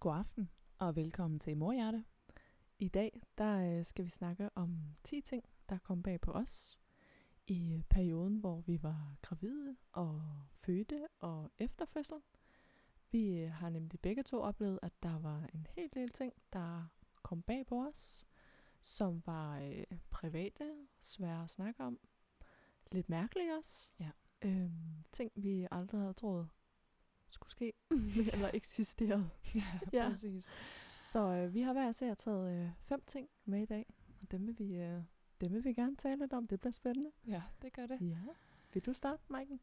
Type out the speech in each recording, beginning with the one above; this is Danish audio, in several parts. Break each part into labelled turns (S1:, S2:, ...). S1: God aften og velkommen til Morhjerte. I dag der øh, skal vi snakke om 10 ting, der kom bag på os i øh, perioden, hvor vi var gravide og fødte og efterfødsel. Vi øh, har nemlig begge to oplevet, at der var en hel del ting, der kom bag på os, som var øh, private, svære at snakke om, lidt mærkelige også.
S2: Ja.
S1: Øhm, ting, vi aldrig havde troet skulle ske eller eksisterede. Ja.
S2: ja, præcis.
S1: Så øh, vi har hver især taget øh, fem ting med i dag, og dem vil, vi, øh, dem vil vi gerne tale lidt om. Det bliver spændende.
S2: Ja, det gør det.
S1: Ja. Vil du starte, Maiken?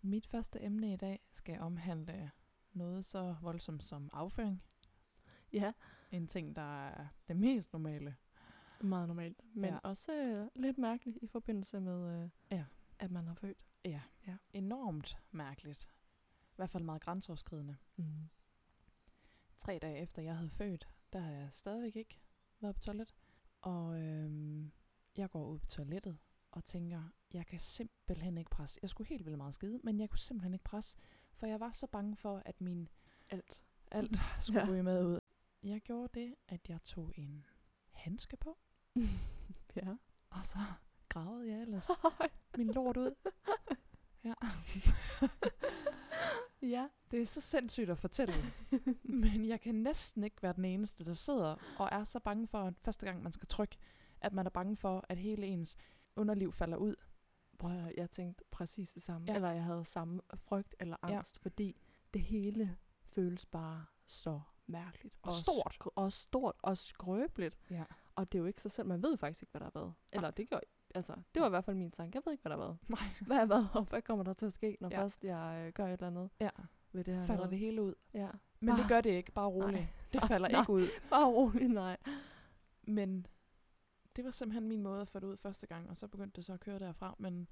S2: Mit første emne i dag skal omhandle noget så voldsomt som afføring.
S1: Ja,
S2: En ting, der er det mest normale.
S1: meget normalt. Men ja.
S2: Ja.
S1: også øh, lidt mærkeligt i forbindelse med, øh,
S2: Ja.
S1: at man har født.
S2: Enormt mærkeligt. I hvert fald meget grænseoverskridende.
S1: Mm.
S2: Tre dage efter jeg havde født, der har jeg stadigvæk ikke været på toilet. Og øhm, jeg går ud på toilettet og tænker, jeg kan simpelthen ikke presse. Jeg skulle helt vildt meget skide, men jeg kunne simpelthen ikke presse. For jeg var så bange for, at min
S1: Alt.
S2: Alt skulle
S1: Ja.
S2: ryge med ud. Jeg gjorde det, at jeg tog en handske på,
S1: Ja.
S2: og så gravede jeg ellers min lort ud.
S1: ja.
S2: Det er så sindssygt at fortælle, men jeg kan næsten ikke være den eneste, der sidder og er så bange for, at første gang man skal trykke, at man er bange for, at hele ens underliv falder ud.
S1: Prøv at høre, jeg tænkte præcis det samme. Ja.
S2: Ja.
S1: Eller jeg havde samme frygt eller
S2: Ja.
S1: angst, ja. fordi det hele føles bare så mærkeligt.
S2: Og stort.
S1: sk- og stort og skrøbeligt.
S2: Ja.
S1: Og det er jo ikke sig selv. Man ved jo faktisk ikke, hvad der har været. Eller det gjorde Altså, det var i hvert fald min tanke. Jeg ved ikke, hvad der har været.
S2: Nej.
S1: Hvad har været, og hvad kommer der til at ske, når ja.
S2: Ja.
S1: først jeg øh, gør et eller andet
S2: ja.
S1: ved det her?
S2: Falder
S1: noget?
S2: det hele ud.
S1: Ja.
S2: Men det
S1: Ah.
S2: gør det ikke, bare roligt.
S1: Nej.
S2: Det falder
S1: Nej.
S2: ikke ud.
S1: Bare rolig, nej.
S2: Men det var simpelthen min måde at få det ud første gang, og så begyndte det så at køre derfra. Men,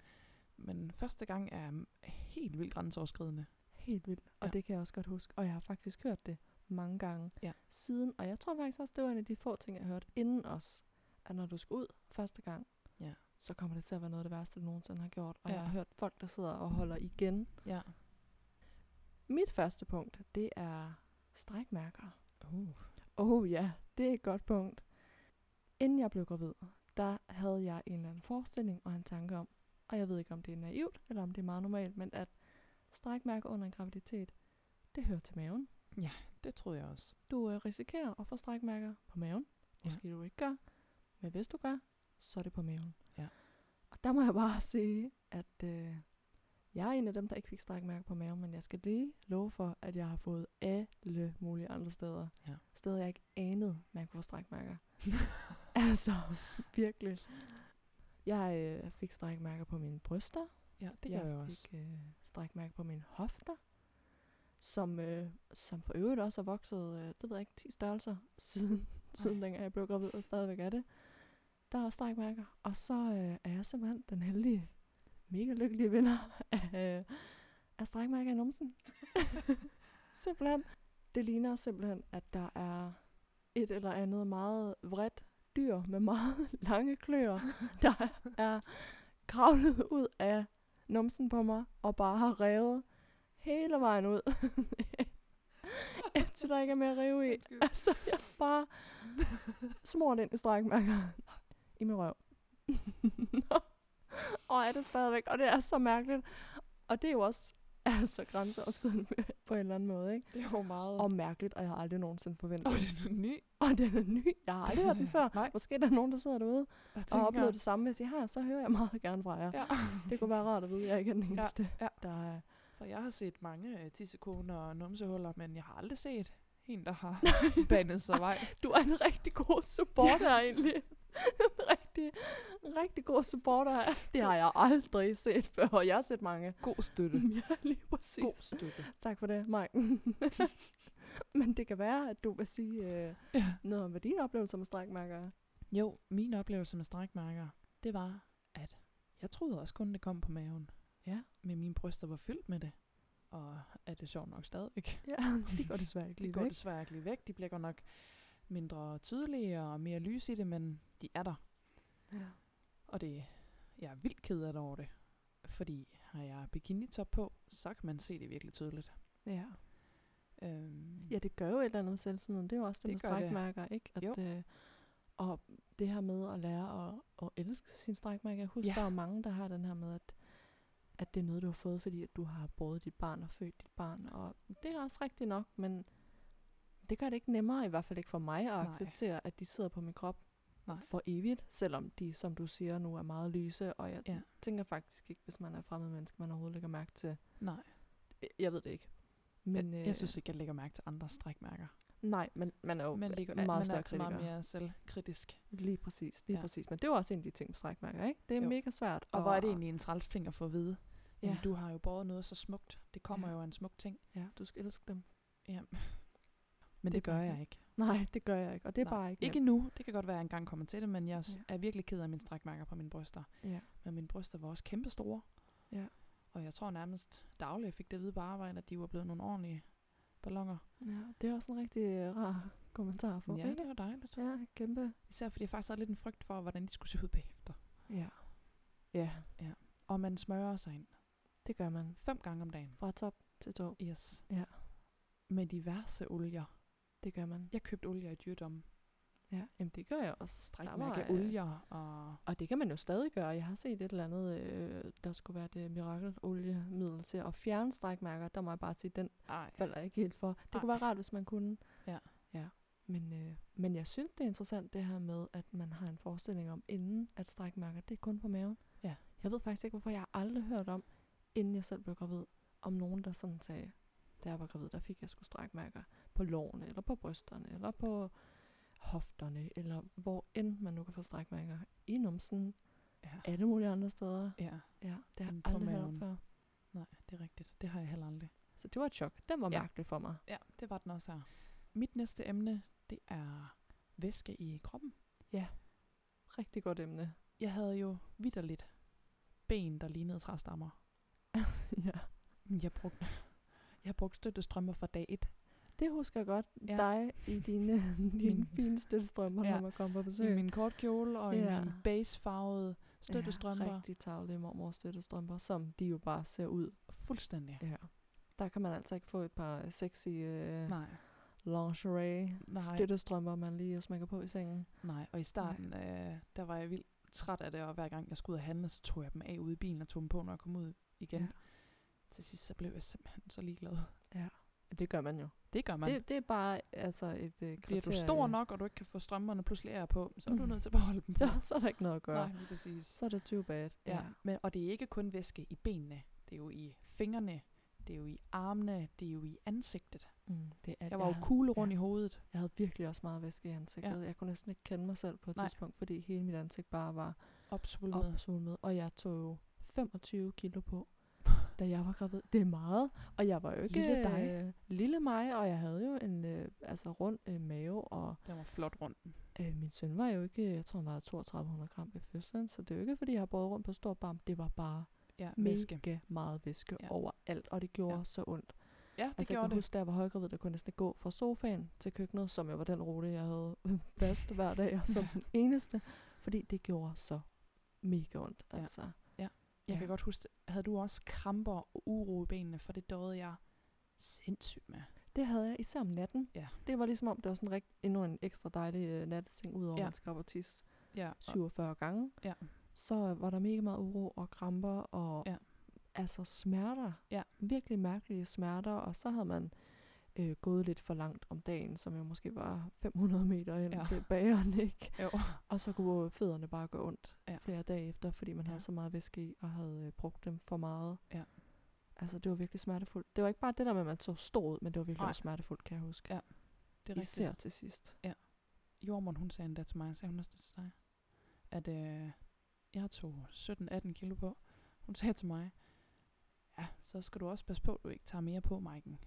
S2: men første gang er mm, helt vildt grænseoverskridende.
S1: Helt vildt. Og ja.
S2: Ja.
S1: det kan jeg også godt huske. Og jeg har faktisk hørt det mange gange
S2: Ja.
S1: siden. Og jeg tror faktisk også, det var en af de få ting, jeg hørte inden os. At når du skal ud første gang,
S2: Ja.
S1: så kommer det til at være noget af det værste, du nogensinde har gjort. Og
S2: Ja.
S1: jeg har hørt folk, der sidder og holder igen.
S2: Ja.
S1: Mit første punkt, det er strækmærker.
S2: Uh.
S1: Oh ja, det er et godt punkt. Inden jeg blev gravid, der havde jeg en eller anden forestilling og en tanke om, og jeg ved ikke, om det er naivt, eller om det er meget normalt, men at strækmærker under en graviditet, det hører til maven.
S2: Det troede jeg også.
S1: Du øh, risikerer at få strækmærker på maven.
S2: Ja.
S1: Måske du ikke gør, men hvis du gør, så er det på maven.
S2: Ja.
S1: Og der må jeg bare sige, at øh, jeg er en af dem, der ikke fik strækmærker på maven, men jeg skal lige love for, at jeg har fået alle mulige andre steder.
S2: Ja.
S1: Steder, jeg ikke anede, man kunne få strækmærker. altså, virkelig. Jeg øh, fik strækmærker på mine bryster.
S2: Ja, det
S1: jeg
S2: gør jeg også.
S1: fik øh, strækmærker på mine hofter, som, øh, som for øvrigt også er vokset, øh, det ved jeg ikke, 10 størrelser siden, siden dengang jeg blev gravid, og stadigvæk er det. Der er også strækmærker, og så øh, er jeg simpelthen den heldige, mega lykkelige vinder af, øh, af strækmærker i numsen. simpelthen. Det ligner simpelthen, at der er et eller andet meget vredt dyr med meget lange kløer, der er kravlet ud af numsen på mig og bare har revet hele vejen ud. Indtil der ikke er mere at rive i.
S2: Undskyld.
S1: Altså, jeg bare smurt ind i strækmærker i min røv. Nå. og er det stadigvæk, og det er så mærkeligt. Og det er jo også altså, grænseoverskridende på en eller anden måde, ikke?
S2: Det var meget...
S1: Og mærkeligt, og jeg har aldrig nogensinde forventet.
S2: Åh, det er noget ny.
S1: Og den er ny. Jeg har aldrig hørt den før.
S2: Nej,
S1: Måske er der nogen, der sidder derude
S2: jeg
S1: og
S2: tænker...
S1: har oplevet det samme. Hvis I har, så hører jeg meget gerne fra jer.
S2: Ja,
S1: Det kunne være rart at vide, at jeg ikke er den eneste,
S2: ja.
S1: der er...
S2: for jeg har set mange øh, tissekoner og numsehuller, men jeg har aldrig set en, der har banet sig vej.
S1: Du er en rigtig god supporter, egentlig. en rigtig, en rigtig god supporter. Det har jeg aldrig set før, og jeg har set mange.
S2: God støtte.
S1: Ja, lige præcis.
S2: Mm. God støtte.
S1: Tak for det, Mike. Men det kan være, at du vil sige øh,
S2: Ja.
S1: noget om, hvad dine oplevelser med strækmærker er.
S2: Jo, min oplevelse med strækmærker, det var, at jeg troede også kun, det kom på maven.
S1: Ja.
S2: Men mine bryster var fyldt med det. Og er det sjovt nok stadigvæk.
S1: Ja, det går desværre ikke
S2: De
S1: lige
S2: går
S1: væk.
S2: desværre ikke lige væk. De bliver godt nok mindre tydelige og mere lys i det, men de er der.
S1: Ja.
S2: Og det, jeg er vildt ked af det over det. Fordi har jeg bikini top på, så kan man se det virkelig tydeligt.
S1: ja.
S2: Øhm,
S1: Ja, det gør jo et eller andet med selvtilliden. Det er jo også det,
S2: Det
S1: med
S2: gør det.
S1: strækmærker, ikke? At,
S2: Jo.
S1: Øh, og det her med at lære at, at elske sin strækmærke. Jeg husker, ja.
S2: Ja.
S1: der er jo mange, der har den her med, at, at det er noget, du har fået, fordi at du har båret dit barn og født dit barn. Og det er også rigtigt nok, men det gør det ikke nemmere, i hvert fald ikke for mig, at
S2: Nej.
S1: acceptere, at de sidder på min krop
S2: Nej.
S1: for evigt, selvom de, som du siger nu, er meget lyse, og jeg
S2: Ja.
S1: ja. tænker faktisk ikke, hvis man er fremmed menneske, man overhovedet lægger mærke til.
S2: nej,
S1: Jeg ved det ikke.
S2: men, øh,
S1: Men, øh,
S2: jeg, jeg synes ikke, jeg lægger mærke til andres strækmærker.
S1: Nej, men man er jo
S2: Man, ligger,
S1: meget
S2: man er
S1: stærk
S2: altså meget
S1: kritiker.
S2: mere selvkritisk.
S1: Lige præcis, lige
S2: Ja.
S1: ja. præcis. Men det er jo også en af de ting med strækmærker, ikke? Det er
S2: Jo.
S1: jo. mega svært.
S2: Og hvor er det egentlig en træls ting at få at vide?
S1: Ja.
S2: Ja. Jamen, du har jo båret noget så smukt. Det kommer
S1: Ja.
S2: jo af en smuk ting.
S1: Ja, du skal elske dem.
S2: Ja. Men det,
S1: Det er
S2: det gør
S1: bare
S2: jeg
S1: det.
S2: ikke.
S1: Nej, det gør jeg ikke, og det er
S2: Nej.
S1: bare ikke
S2: Ikke nu. Det kan godt være, at jeg engang kommer til det, men jeg s-
S1: Ja.
S2: er virkelig ked af mine strækmærker på mine bryster.
S1: Ja.
S2: Men mine bryster var også kæmpe store.
S1: Ja.
S2: Og jeg tror nærmest dagligt, jeg fik det at vide på arbejde, at de var blevet nogle ordentlige ballonger.
S1: ja, det er også en rigtig øh, rar kommentar for
S2: ja,
S1: ikke?
S2: det var dejligt.
S1: Ja, kæmpe.
S2: Især fordi jeg faktisk havde lidt en frygt for, hvordan de skulle se ud bagefter.
S1: Ja. Ja,
S2: Og man smører sig ind
S1: det gør man.
S2: fem gange om dagen.
S1: Fra top til tog.
S2: Yes.
S1: Ja.
S2: Med diverse olier.
S1: Det gør man.
S2: Jeg købte olier i dyrdommen.
S1: Ja, jamen det gør jeg også. øh,
S2: Strækmærke olier og...
S1: Og det kan man jo stadig gøre. Jeg har set et eller andet, øh, der skulle være det mirakeloliemiddel til at fjerne strækmærker. Der må jeg bare sige, den
S2: Ej.
S1: falder jeg ikke helt for. Det kunne
S2: Nej.
S1: være rart, hvis man kunne.
S2: Ja.
S1: ja. Men, øh, men jeg synes, det er interessant det her med, at man har en forestilling om, inden at strækmærker, det er kun på maven.
S2: Ja.
S1: Jeg ved faktisk ikke, hvorfor jeg har aldrig hørt om, inden jeg selv blev gravid, om nogen, der sådan sagde, da jeg var gravid, der fik jeg skulle strækmærker på lårene, eller på brysterne, eller på hofterne, eller hvor end man nu kan få strækmærker. I numsen,
S2: Ja.
S1: alle mulige andre steder.
S2: ja,
S1: Ja, det har jeg
S2: Inde på
S1: aldrig hørt om
S2: maven.
S1: før.
S2: nej, det er rigtigt. Det har jeg heller aldrig.
S1: Så det var et chok. Den var
S2: Ja.
S1: ja. mærkelig for mig.
S2: Ja, det var den også her. Mit næste emne, det er væske i kroppen.
S1: Rigtig godt emne.
S2: Jeg havde jo vidderligt ben, der lignede træstammer.
S1: ja.
S2: Jeg brugte, jeg brugte støttestrømper fra dag 1.
S1: Det husker jeg godt.
S2: Ja.
S1: Ja. Dig i dine, dine fine støttestrømper,
S2: Ja.
S1: når man kommer på
S2: I
S1: besøg.
S2: Altså min kort kjole og ja.
S1: Mm. Ja.
S2: i min beigefarvede støttestrømper.
S1: Ja,
S2: Ja,
S1: rigtig tavlige mormors støttestrømper, som de jo bare ser ud.
S2: Fuldstændig.
S1: Ja. Der kan man altså ikke få et par sexy øh,
S2: Nej,
S1: lingerie
S2: Nej.
S1: støttestrømper, man lige smækker på i sengen.
S2: nej. Og i starten, øh, der var jeg vildt træt af det, og hver gang jeg skulle ud og handle, så tog jeg dem af ude i bilen og tog dem på, når jeg kom ud igen. Ja.
S1: Ja.
S2: Til sidst, så blev jeg simpelthen så ligeglad.
S1: Det gør man jo.
S2: Det gør man. Det,
S1: Det, det er bare altså et øh,
S2: Bliver du
S1: kriterie.
S2: stor nok, og du ikke kan få strømperne pludselig af på, så er du
S1: Mm.
S2: nødt til at beholde dem.
S1: Så, så er der ikke noget at gøre.
S2: Nej,
S1: Nej.
S2: lige præcis.
S1: Så er det too bad.
S2: Ja. ja. Men, og det er ikke kun væske i benene. Det er jo i fingrene. Det er jo i armene. Det er jo i ansigtet.
S1: Mm, det er,
S2: Jeg var jo
S1: havde-
S2: kugle rundt
S1: ja.
S2: i hovedet.
S1: Jeg havde virkelig også meget væske i ansigtet.
S2: Ja.
S1: Jeg kunne næsten ikke kende mig selv på et
S2: Nej.
S1: tidspunkt, fordi hele mit ansigt bare var
S2: Opsvulmet.
S1: opsvulmet, og jeg tog jo 25 kilo på, da jeg var gravid. Det er meget, og jeg var jo ikke...
S2: Lille dig.
S1: Øh, lille mig, og jeg havde jo en øh, altså rund øh, mave, og
S2: Den var flot rundt.
S1: øh, min søn var jo ikke, jeg tror han var 3200 gram ved fødslen, så det er jo ikke, fordi jeg har båret rundt på stor barm, det var bare
S2: Ja, væske.
S1: væske. mega meget væske
S2: Ja.
S1: ja. overalt, og det gjorde
S2: Ja.
S1: ja. så ondt.
S2: Ja, det
S1: altså, jeg
S2: gjorde
S1: kan
S2: det.
S1: huske, da jeg var højgravid, der kunne jeg næsten ikke gå fra sofaen til køkkenet, som jeg var den rute, jeg havde fast hver dag, og som
S2: Ja.
S1: den eneste, fordi det gjorde så mega ondt,
S2: Ja.
S1: altså.
S2: Jeg kan
S1: Ja.
S2: godt huske, havde du også kramper og uro i benene, for det døde jeg sindssygt med.
S1: Det havde jeg, især om natten.
S2: Ja.
S1: Det var ligesom om, det var sådan rigt, endnu en ekstra dejlig øh, natteting, udover
S2: Ja.
S1: ja. man skal op og tisse
S2: Ja, og,
S1: 47 gange.
S2: Ja.
S1: Så øh, var der mega meget uro og kramper og
S2: Ja.
S1: altså smerter.
S2: Ja.
S1: Virkelig mærkelige smerter, og så havde man øh, gået lidt for langt om dagen, som jo måske var 500 meter hen
S2: Ja.
S1: ja. til bageren, ikke?
S2: jo.
S1: Og så kunne fødderne bare gå ondt
S2: Ja.
S1: ja. flere dage efter, fordi man
S2: Ja.
S1: ja. havde så meget væske i, og havde øh, brugt dem for meget.
S2: Ja.
S1: Altså, det var virkelig smertefuldt. Det var ikke bare det der med, at man så stor ud, men det var virkelig
S2: Nej.
S1: også smertefuldt, kan jeg huske.
S2: Ja, det er rigtigt.
S1: Især til sidst.
S2: Jormund, hun sagde endda til mig, sagde hun også det til dig, at øh, jeg tog 17-18 kilo på. Hun sagde til mig, ja, så skal du også passe på, at du ikke tager mere på, Maiken.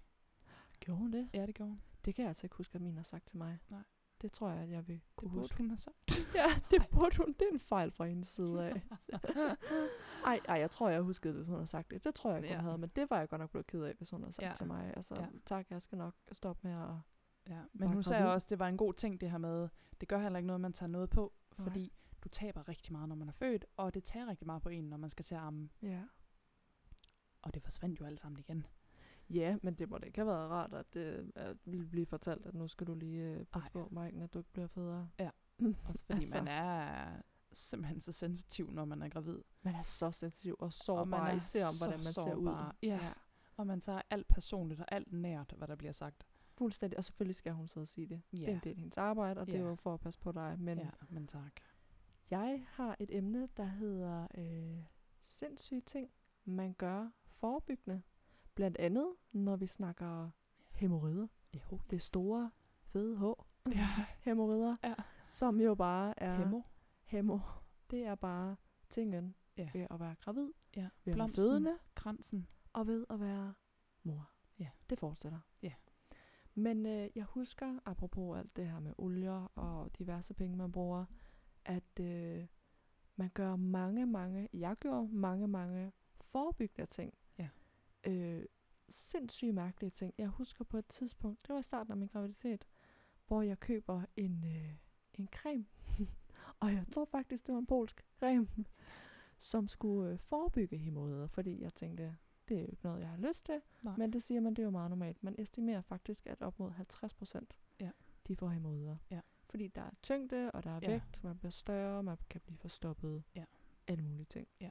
S1: Gjorde hun det?
S2: Ja, det gjorde hun.
S1: Det kan jeg altså ikke huske, at min har sagt til mig.
S2: Nej.
S1: Det tror jeg, at jeg vil
S2: Det
S1: kunne
S2: burde
S1: huske.
S2: hun have sagt.
S1: Ja, det burde hun. Det er en fejl fra hendes side af. ej, ej, jeg tror, jeg huskede det, hvis hun havde sagt det. Det tror jeg ikke, hun
S2: Ja.
S1: havde, men det var jeg godt nok blevet ked af, hvis hun havde sagt
S2: Ja.
S1: ja. til mig. Altså,
S2: Ja.
S1: ja. tak, jeg skal nok stoppe med at...
S2: Ja, men
S1: Bare
S2: hun sagde
S1: gravid.
S2: også, at det var en god ting, det her med, det gør heller ikke noget, man tager noget på,
S1: Nej.
S2: fordi du taber rigtig meget, når man er født, og det tager rigtig meget på en, når man skal til at amme.
S1: Ja.
S2: Og det forsvandt jo alt sammen igen.
S1: Ja, men det må da ikke have været rart, at det at ville blive fortalt, at nu skal du lige øh, passe
S2: Ej.
S1: på, Maiken, at du ikke bliver federe.
S2: Ja. Også fordi
S1: Altså.
S2: altså. man er simpelthen så sensitiv, når man er gravid.
S1: Man er så sensitiv og sårbar,
S2: og man er
S1: især om,
S2: så
S1: hvordan man ser
S2: sårbar.
S1: ud.
S2: Ja. ja, og man tager alt personligt og alt nært, hvad der bliver sagt.
S1: Fuldstændig, og selvfølgelig skal hun sidde og sige det.
S2: Ja,
S1: Det er en del af hendes arbejde, og det
S2: Ja.
S1: er jo for at passe på dig. Men
S2: ja, men tak.
S1: jeg har et emne, der hedder øh, sindssyge ting, man gør forebyggende. Blandt andet, når vi snakker hemorrider.
S2: Jo,
S1: Det store, fede H.
S2: ja.
S1: Hemorrider,
S2: Ja.
S1: som jo bare er...
S2: Hemmo.
S1: Hemo, det er bare tingen
S2: Ja.
S1: ja. ved at være gravid,
S2: Ja.
S1: ved at være
S2: Blomsten.
S1: fødende
S2: Kransen.
S1: og ved at være mor.
S2: Ja.
S1: Det fortsætter.
S2: Ja.
S1: Men øh, jeg husker, apropos alt det her med olier og diverse penge, man bruger, at øh, man gør mange, mange, jeg gjorde mange, mange forebyggende ting.
S2: Ja.
S1: Øh, sindssygt mærkelige ting. Jeg husker på et tidspunkt, det var i starten af min graviditet, hvor jeg køber en, øh, en creme. og jeg tror faktisk, det var en polsk creme, som skulle øh, forebygge hemorrider, fordi jeg tænkte, det er jo ikke noget, jeg har lyst til.
S2: Nej.
S1: Men det siger man, det er jo meget normalt. Man estimerer faktisk, at op mod 50 procent,
S2: Ja.
S1: de får hemorrider.
S2: Ja.
S1: Fordi der er tyngde, og der er
S2: Ja.
S1: vægt, man bliver større, man kan blive forstoppet.
S2: Ja.
S1: Alle mulige ting.
S2: Ja.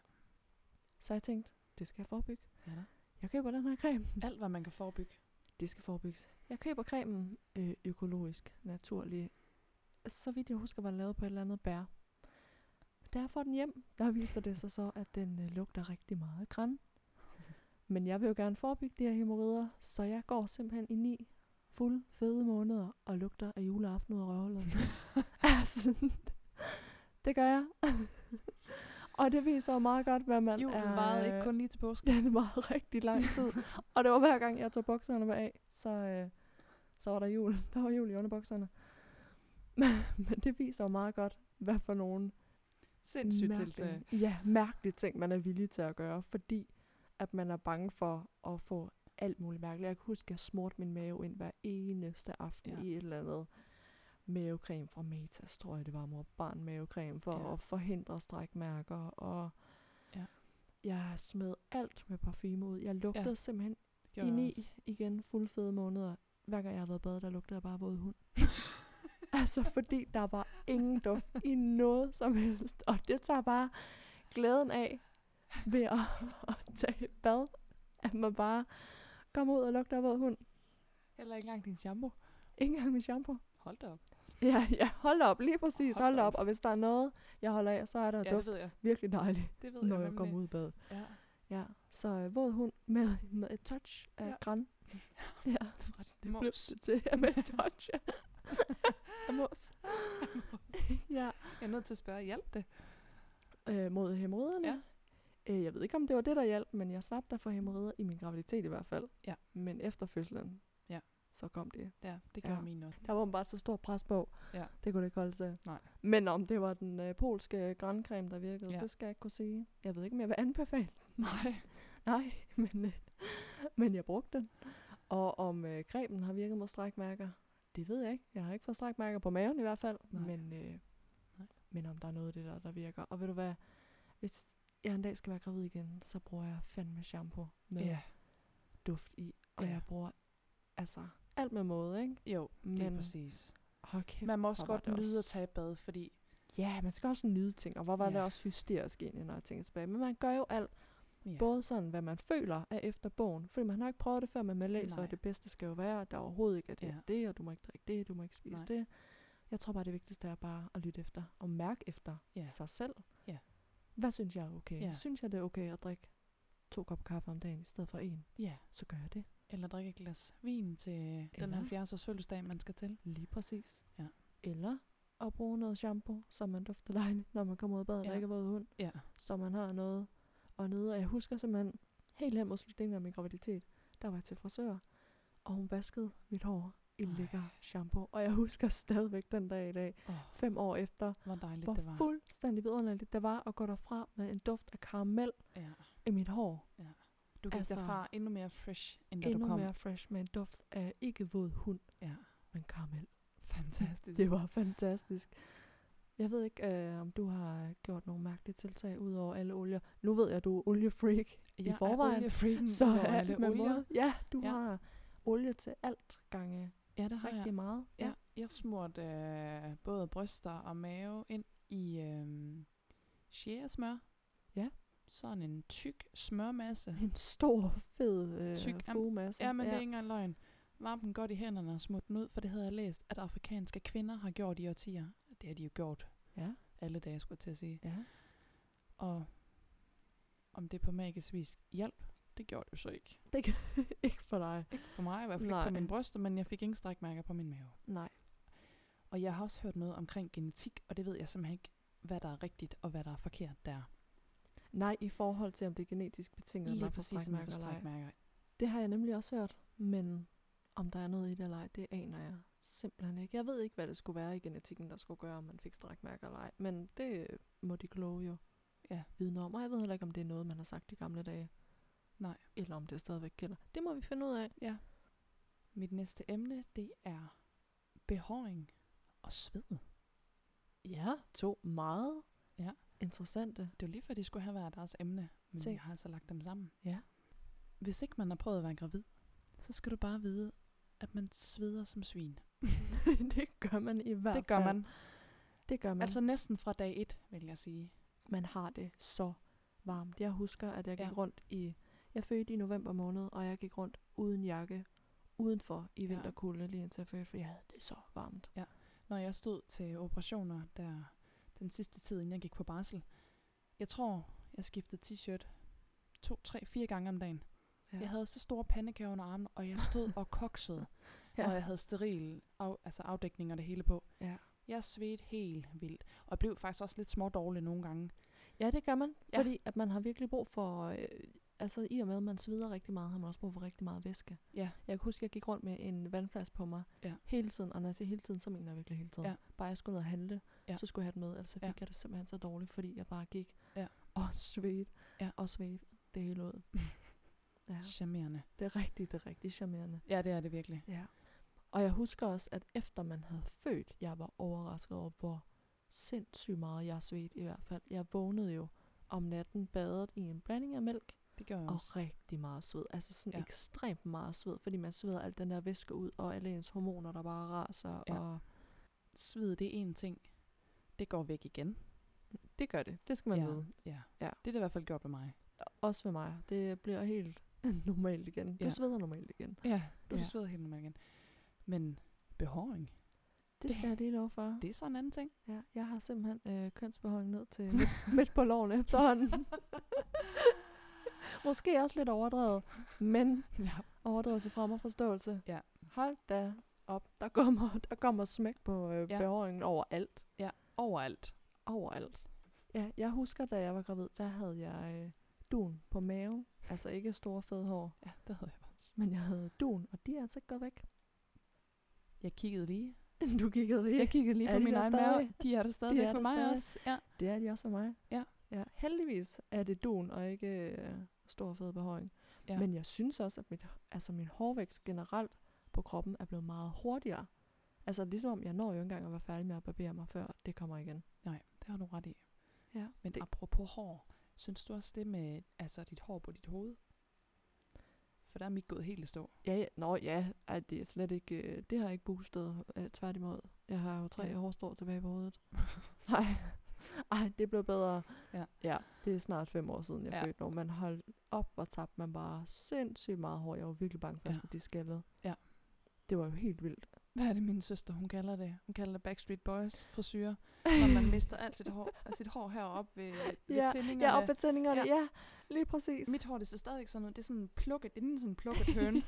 S1: Så jeg tænkte, det skal jeg forebygge.
S2: Ja, da.
S1: Jeg køber den her creme.
S2: Alt, hvad man kan forebygge.
S1: Det skal forebygges. Jeg køber cremen øh, økologisk, naturlig. Så vidt jeg husker, var den lavet på et eller andet bær. Da jeg får den hjem, der viser det sig så, at den øh, lugter rigtig meget af græn. Men jeg vil jo gerne forebygge de her hemorrider, så jeg går simpelthen i ni fuld fede måneder og lugter af juleaften ud af røvhullet. altså, det gør jeg. og det viser jo meget godt, hvad man
S2: Julen
S1: er...
S2: varede
S1: øh,
S2: ikke kun lige til påske.
S1: Ja, det var rigtig lang tid. og det var hver gang, jeg tog bukserne af, så, øh, så var der jul. Der var jul i underbukserne. Men det viser jo meget godt, hvad for nogle
S2: Sindssygt
S1: mærkelige-
S2: tiltag.
S1: Ja, mærkelige ting, man er villig til at gøre, fordi at man er bange for at få alt muligt mærkeligt. Jeg kan huske, at jeg smurte min mave ind hver eneste aften
S2: Ja.
S1: ja. i et eller andet mavecreme fra Matas, tror jeg det var mor barn mavecreme, for
S2: Ja.
S1: ja. at forhindre strækmærker, og
S2: Ja.
S1: jeg smed alt med parfume ud. Jeg lugtede ja. simpelthen
S2: Det
S1: i
S2: gjorde jeg
S1: ni
S2: også.
S1: igen fulde fede måneder. Hver gang jeg har været i bad, der lugtede jeg bare våd hund. altså, fordi der var ingen duft i noget som helst. Og det tager bare glæden af ved at, at tage et bad, at man bare kommer ud og lugter af våd hund.
S2: Heller ikke engang din shampoo.
S1: Ikke engang min shampoo.
S2: Hold da op.
S1: Ja, ja, hold op, lige præcis,
S2: Hold
S1: hold
S2: op.
S1: op. Og hvis der er noget, jeg holder af, så er der ja,
S2: Ja, det
S1: duft
S2: ved jeg.
S1: virkelig dejligt,
S2: Det ved
S1: når
S2: jeg
S1: jeg
S2: nemlig.
S1: kommer ud i bad.
S2: Ja,
S1: Ja, så øh, våd hund med, med et touch af
S2: Ja.
S1: ja. græn. Ja.
S2: fra
S1: Det blev
S2: mos.
S1: det til at med touch. Amos. ja.
S2: Jeg er nødt til at spørge, hjælp det?
S1: Øh, mod hemorriderne.
S2: Ja.
S1: Øh, jeg ved ikke, om det var det, der hjalp, men jeg slap der for hemorrider i min graviditet i hvert fald.
S2: Ja.
S1: Men efter fødslen,
S2: Ja.
S1: så kom det.
S2: Ja, det gør ja.
S1: Ja.
S2: min også.
S1: Der var bare så stor pres på.
S2: Ja.
S1: Det kunne det ikke holde sig.
S2: Nej.
S1: Men om det var den øh, polske græncreme, der virkede,
S2: Ja.
S1: det skal jeg ikke kunne sige. Jeg ved ikke, om jeg vil anbefale
S2: Nej.
S1: Nej, men, øh, men jeg brugte den. Og om øh, cremen har virket mod strækmærker, det ved jeg ikke. Jeg har ikke fået strækmærker på maven i hvert fald.
S2: Nej.
S1: Men, øh,
S2: Nej.
S1: men om der er noget af det der, der virker. Og ved du hvad, hvis jeg en dag skal være gravid igen, så bruger jeg fandme shampoo med
S2: Ja,
S1: duft i. Og
S2: Ja.
S1: jeg bruger altså alt med måde, ikke?
S2: jo, det er
S1: Men
S2: præcis.
S1: hold kæft.
S2: Man må også
S1: hvor var
S2: godt
S1: det
S2: nyde at
S1: også-
S2: tage et bad, fordi
S1: Ja, man skal også nyde ting. Og hvor var
S2: Ja.
S1: det også hysterisk egentlig, når jeg tænker tilbage. Men man gør jo alt
S2: ja,
S1: Både sådan, hvad man føler er efter bogen. Fordi man har ikke prøvet det før, men man læser,
S2: Nej.
S1: og det bedste skal jo være, at der overhovedet ikke er det,
S2: Ja.
S1: ja. det, og du må ikke drikke det, du må ikke spise
S2: Nej.
S1: Nej. det. Jeg tror bare, det vigtigste er bare at lytte efter, og mærke efter
S2: Ja.
S1: ja. sig selv.
S2: Ja.
S1: Hvad synes jeg er okay?
S2: Ja.
S1: Ja. Synes jeg, det er okay at drikke to kopper kaffe om dagen i stedet for en,
S2: ja.
S1: så gør jeg det.
S2: Eller drikke et glas vin til den
S1: Eller-
S2: 70 års fødselsdag, man skal til.
S1: Lige præcis.
S2: Ja.
S1: Eller at bruge noget shampoo, så man dufter dejligt, når man kommer ud af badet, ja.
S2: Ja.
S1: og ikke er våd i huden.
S2: Ja.
S1: så man har noget at nyde. Og jeg husker simpelthen helt hen mod slutningen af min graviditet, der var jeg til frisør, og hun vaskede mit hår i
S2: Ej.
S1: lækker shampoo. Og jeg husker stadigvæk den dag i dag,
S2: Åh,
S1: fem år efter,
S2: hvor dejligt
S1: hvor
S2: det var.
S1: fuldstændig vidunderligt det var at gå derfra med en duft af karamel
S2: Ja.
S1: i mit hår.
S2: Du gik altså,
S1: Altså,
S2: derfra endnu mere fresh, end da
S1: Endnu
S2: du kom.
S1: mere fresh med en duft af ikke våd hund,
S2: Ja,
S1: men karamel.
S2: fantastisk.
S1: Det var fantastisk. Jeg ved ikke, øh, om du har gjort nogle mærkelige tiltag ud over alle olier. Nu ved jeg, at du er oliefreak i forvejen.
S2: oliefreaken
S1: så
S2: over
S1: er
S2: Mm. alle
S1: alt med
S2: olier.
S1: måde. Ja, du
S2: Ja.
S1: ja. har olie til alt gange
S2: Ja, det har
S1: rigtig
S2: jeg.
S1: meget.
S2: Ja, jeg smurte øh, både bryster og mave ind i øh, chiasmør.
S1: Ja.
S2: Sådan en tyk smørmasse.
S1: En stor, fed øh,
S2: Tyk, am-
S1: fugemasse.
S2: Ja, men ja. det er ikke engang løgn. Varm den godt i hænderne og smut den ud, for det havde jeg læst, at afrikanske kvinder har gjort i årtier. Det har de jo gjort
S1: Ja,
S2: alle dage, skulle jeg til at sige.
S1: ja.
S2: Og om det på magisk vis hjalp, det gjorde det jo så ikke.
S1: Det kan ikke for dig.
S2: Ikke for mig, i hvert fald Nej. ikke
S1: Nej.
S2: på mine bryster, men jeg fik ingen strækmærker på min mave.
S1: Nej.
S2: Og jeg har også hørt noget omkring genetik, og det ved jeg simpelthen ikke, hvad der er rigtigt og hvad der er forkert der.
S1: Nej, i forhold til, om det er genetisk betinget, om
S2: Lige
S1: man får
S2: præcis, som man får
S1: strækmærker eller ej.
S2: strækmærker.
S1: Det har jeg nemlig også hørt, men om der er noget i det eller ej, det aner jeg simpelthen ikke. Jeg ved ikke, hvad det skulle være i genetikken, der skulle gøre, om man fik strækmærker eller ej, men det øh, må de kloge jo
S2: Ja.
S1: vidne om, og jeg ved heller ikke, om det er noget, man har sagt i gamle dage.
S2: Nej.
S1: Eller om det stadigvæk gælder. Det må vi finde ud af.
S2: Ja. Mit næste emne, det er behåring og sved.
S1: Ja, to meget
S2: Ja.
S1: interessante.
S2: Det er jo lige før, de skulle have været deres emne, men
S1: Se.
S2: jeg har altså lagt dem sammen.
S1: Ja.
S2: Hvis ikke man har prøvet at være gravid, så skal du bare vide, at man sveder som svin.
S1: det gør man i hvert fald.
S2: Mm. Det gør man.
S1: Det gør man.
S2: Altså næsten fra dag et, vil jeg sige.
S1: man har det så varmt. Jeg husker, at jeg gik
S2: Ja.
S1: ja. rundt i... Jeg fødte i november måned, og jeg gik rundt uden jakke udenfor i
S2: Ja.
S1: vinterkulde lige indtil jeg fødte, for jeg havde det så varmt.
S2: Når jeg stod til operationer der den sidste tid, inden jeg gik på barsel, jeg tror, jeg skiftede t-shirt to, tre, fire gange om dagen. Ja.
S1: Ja.
S2: Jeg havde så store pandekager under armen, og jeg stod og koksede. ja.
S1: Ja.
S2: og jeg havde steril af, altså afdækning og det hele på.
S1: Ja.
S2: Jeg svedte helt vildt, og jeg blev faktisk også lidt smådårlig nogle gange.
S1: Ja, det gør man, ja.
S2: Ja.
S1: fordi at man har virkelig brug for... Øh, altså i og med, at man sveder rigtig meget, har man også brug for rigtig meget væske.
S2: Ja.
S1: Jeg kan huske, at jeg gik rundt med en vandflaske på mig
S2: Ja.
S1: hele tiden, og når jeg siger hele tiden, så mener jeg virkelig hele tiden.
S2: Ja.
S1: Bare jeg skulle ned og handle,
S2: Ja.
S1: ja. så skulle jeg have den med, ellers så fik
S2: Ja.
S1: ja. jeg det simpelthen så dårligt, fordi jeg bare gik
S2: Ja.
S1: og svedte
S2: Ja.
S1: og svedte det hele ud. ja.
S2: Ja. Charmerende.
S1: Det er rigtig, det er rigtig charmerende.
S2: Ja, det er det virkelig.
S1: Ja. Og jeg husker også, at efter man havde født, jeg var overrasket over, hvor sindssygt meget jeg svedte i hvert fald. Jeg vågnede jo om natten badet i en blanding af mælk
S2: Det gør jeg
S1: og
S2: også.
S1: rigtig meget sved. Altså sådan
S2: Ja.
S1: ja. ekstremt meget sved, fordi man sveder alt den der væske ud, og alle ens hormoner, der bare raser,
S2: Ja.
S1: ja. og
S2: Sved, det er en ting. Det går væk igen.
S1: det gør det. Det skal man
S2: ja.
S1: ja. vide.
S2: Ja.
S1: Ja.
S2: Det er det i hvert fald gjort ved mig.
S1: Også ved mig. Det bliver helt normalt igen. Du
S2: Ja.
S1: ja. sveder normalt igen.
S2: Ja, du ja.
S1: Ja.
S2: sveder helt normalt igen. Men behåring,
S1: Det skal jeg lige love for.
S2: det er sådan en anden ting.
S1: Ja, jeg har simpelthen øh, kønsbehåring ned til midt, midt på loven efterhånden. Måske også lidt overdrevet, men
S2: ja.
S1: overdrevelse fremmer forståelse.
S2: Ja.
S1: Hold da op. Der kommer, der kommer smæk på øh,
S2: Ja.
S1: ja. behåringen overalt.
S2: Overalt.
S1: Overalt. Ja, jeg husker, da jeg var gravid, der havde jeg øh, dun på maven. Altså ikke store fede hår,
S2: Ja, det havde jeg også.
S1: men jeg havde dun, og de er altså ikke gået væk.
S2: Jeg kiggede lige.
S1: du kiggede lige.
S2: Jeg kiggede lige
S1: Er
S2: på
S1: de
S2: min
S1: der
S2: egen
S1: stadig?
S2: mave. De er der stadigvæk
S1: er
S2: på
S1: der
S2: mig
S1: stadig.
S2: også. Ja.
S1: Det er de også for mig.
S2: Ja.
S1: ja. Heldigvis er det dun og ikke øh, stor fed behåring.
S2: Ja.
S1: Ja. Men jeg synes også, at mit, altså min hårvækst generelt på kroppen er blevet meget hurtigere. Altså ligesom om, jeg når jo ikke engang at være færdig med at barbere mig, før det kommer igen.
S2: Nej, det har du ret i.
S1: Ja.
S2: Men det.
S1: Det-
S2: apropos hår, synes du også det med altså dit hår på dit hoved? For der er mit gået helt i stå.
S1: Ja, ja. Nå ja, ej, det er slet ikke, øh, det har ikke boostet, øh, tværtimod. Jeg har jo tre
S2: Ja.
S1: ja. hårstrå tilbage på hovedet. Nej, ej, det blev bedre.
S2: Ja.
S1: ja, det er snart fem år siden, jeg
S2: Ja.
S1: ja. fødte nu. Man holdt op og tabte man bare sindssygt meget hår. Jeg var virkelig bange for, at jeg
S2: Ja.
S1: skulle blive skaldet.
S2: Ja.
S1: Det var jo helt vildt.
S2: Hvad er det, min søster, hun kalder det? Hun kalder det Backstreet Boys frisyrer, når man mister alt sit hår, altså sit hår heroppe ved, ved
S1: Ja,
S2: tændingerne.
S1: Ja, og betændingerne,
S2: Ja.
S1: ja. ja. Lige præcis.
S2: Mit hår, det ser stadigvæk sådan ud. Det er sådan en plukket, det er sådan en plukket høne.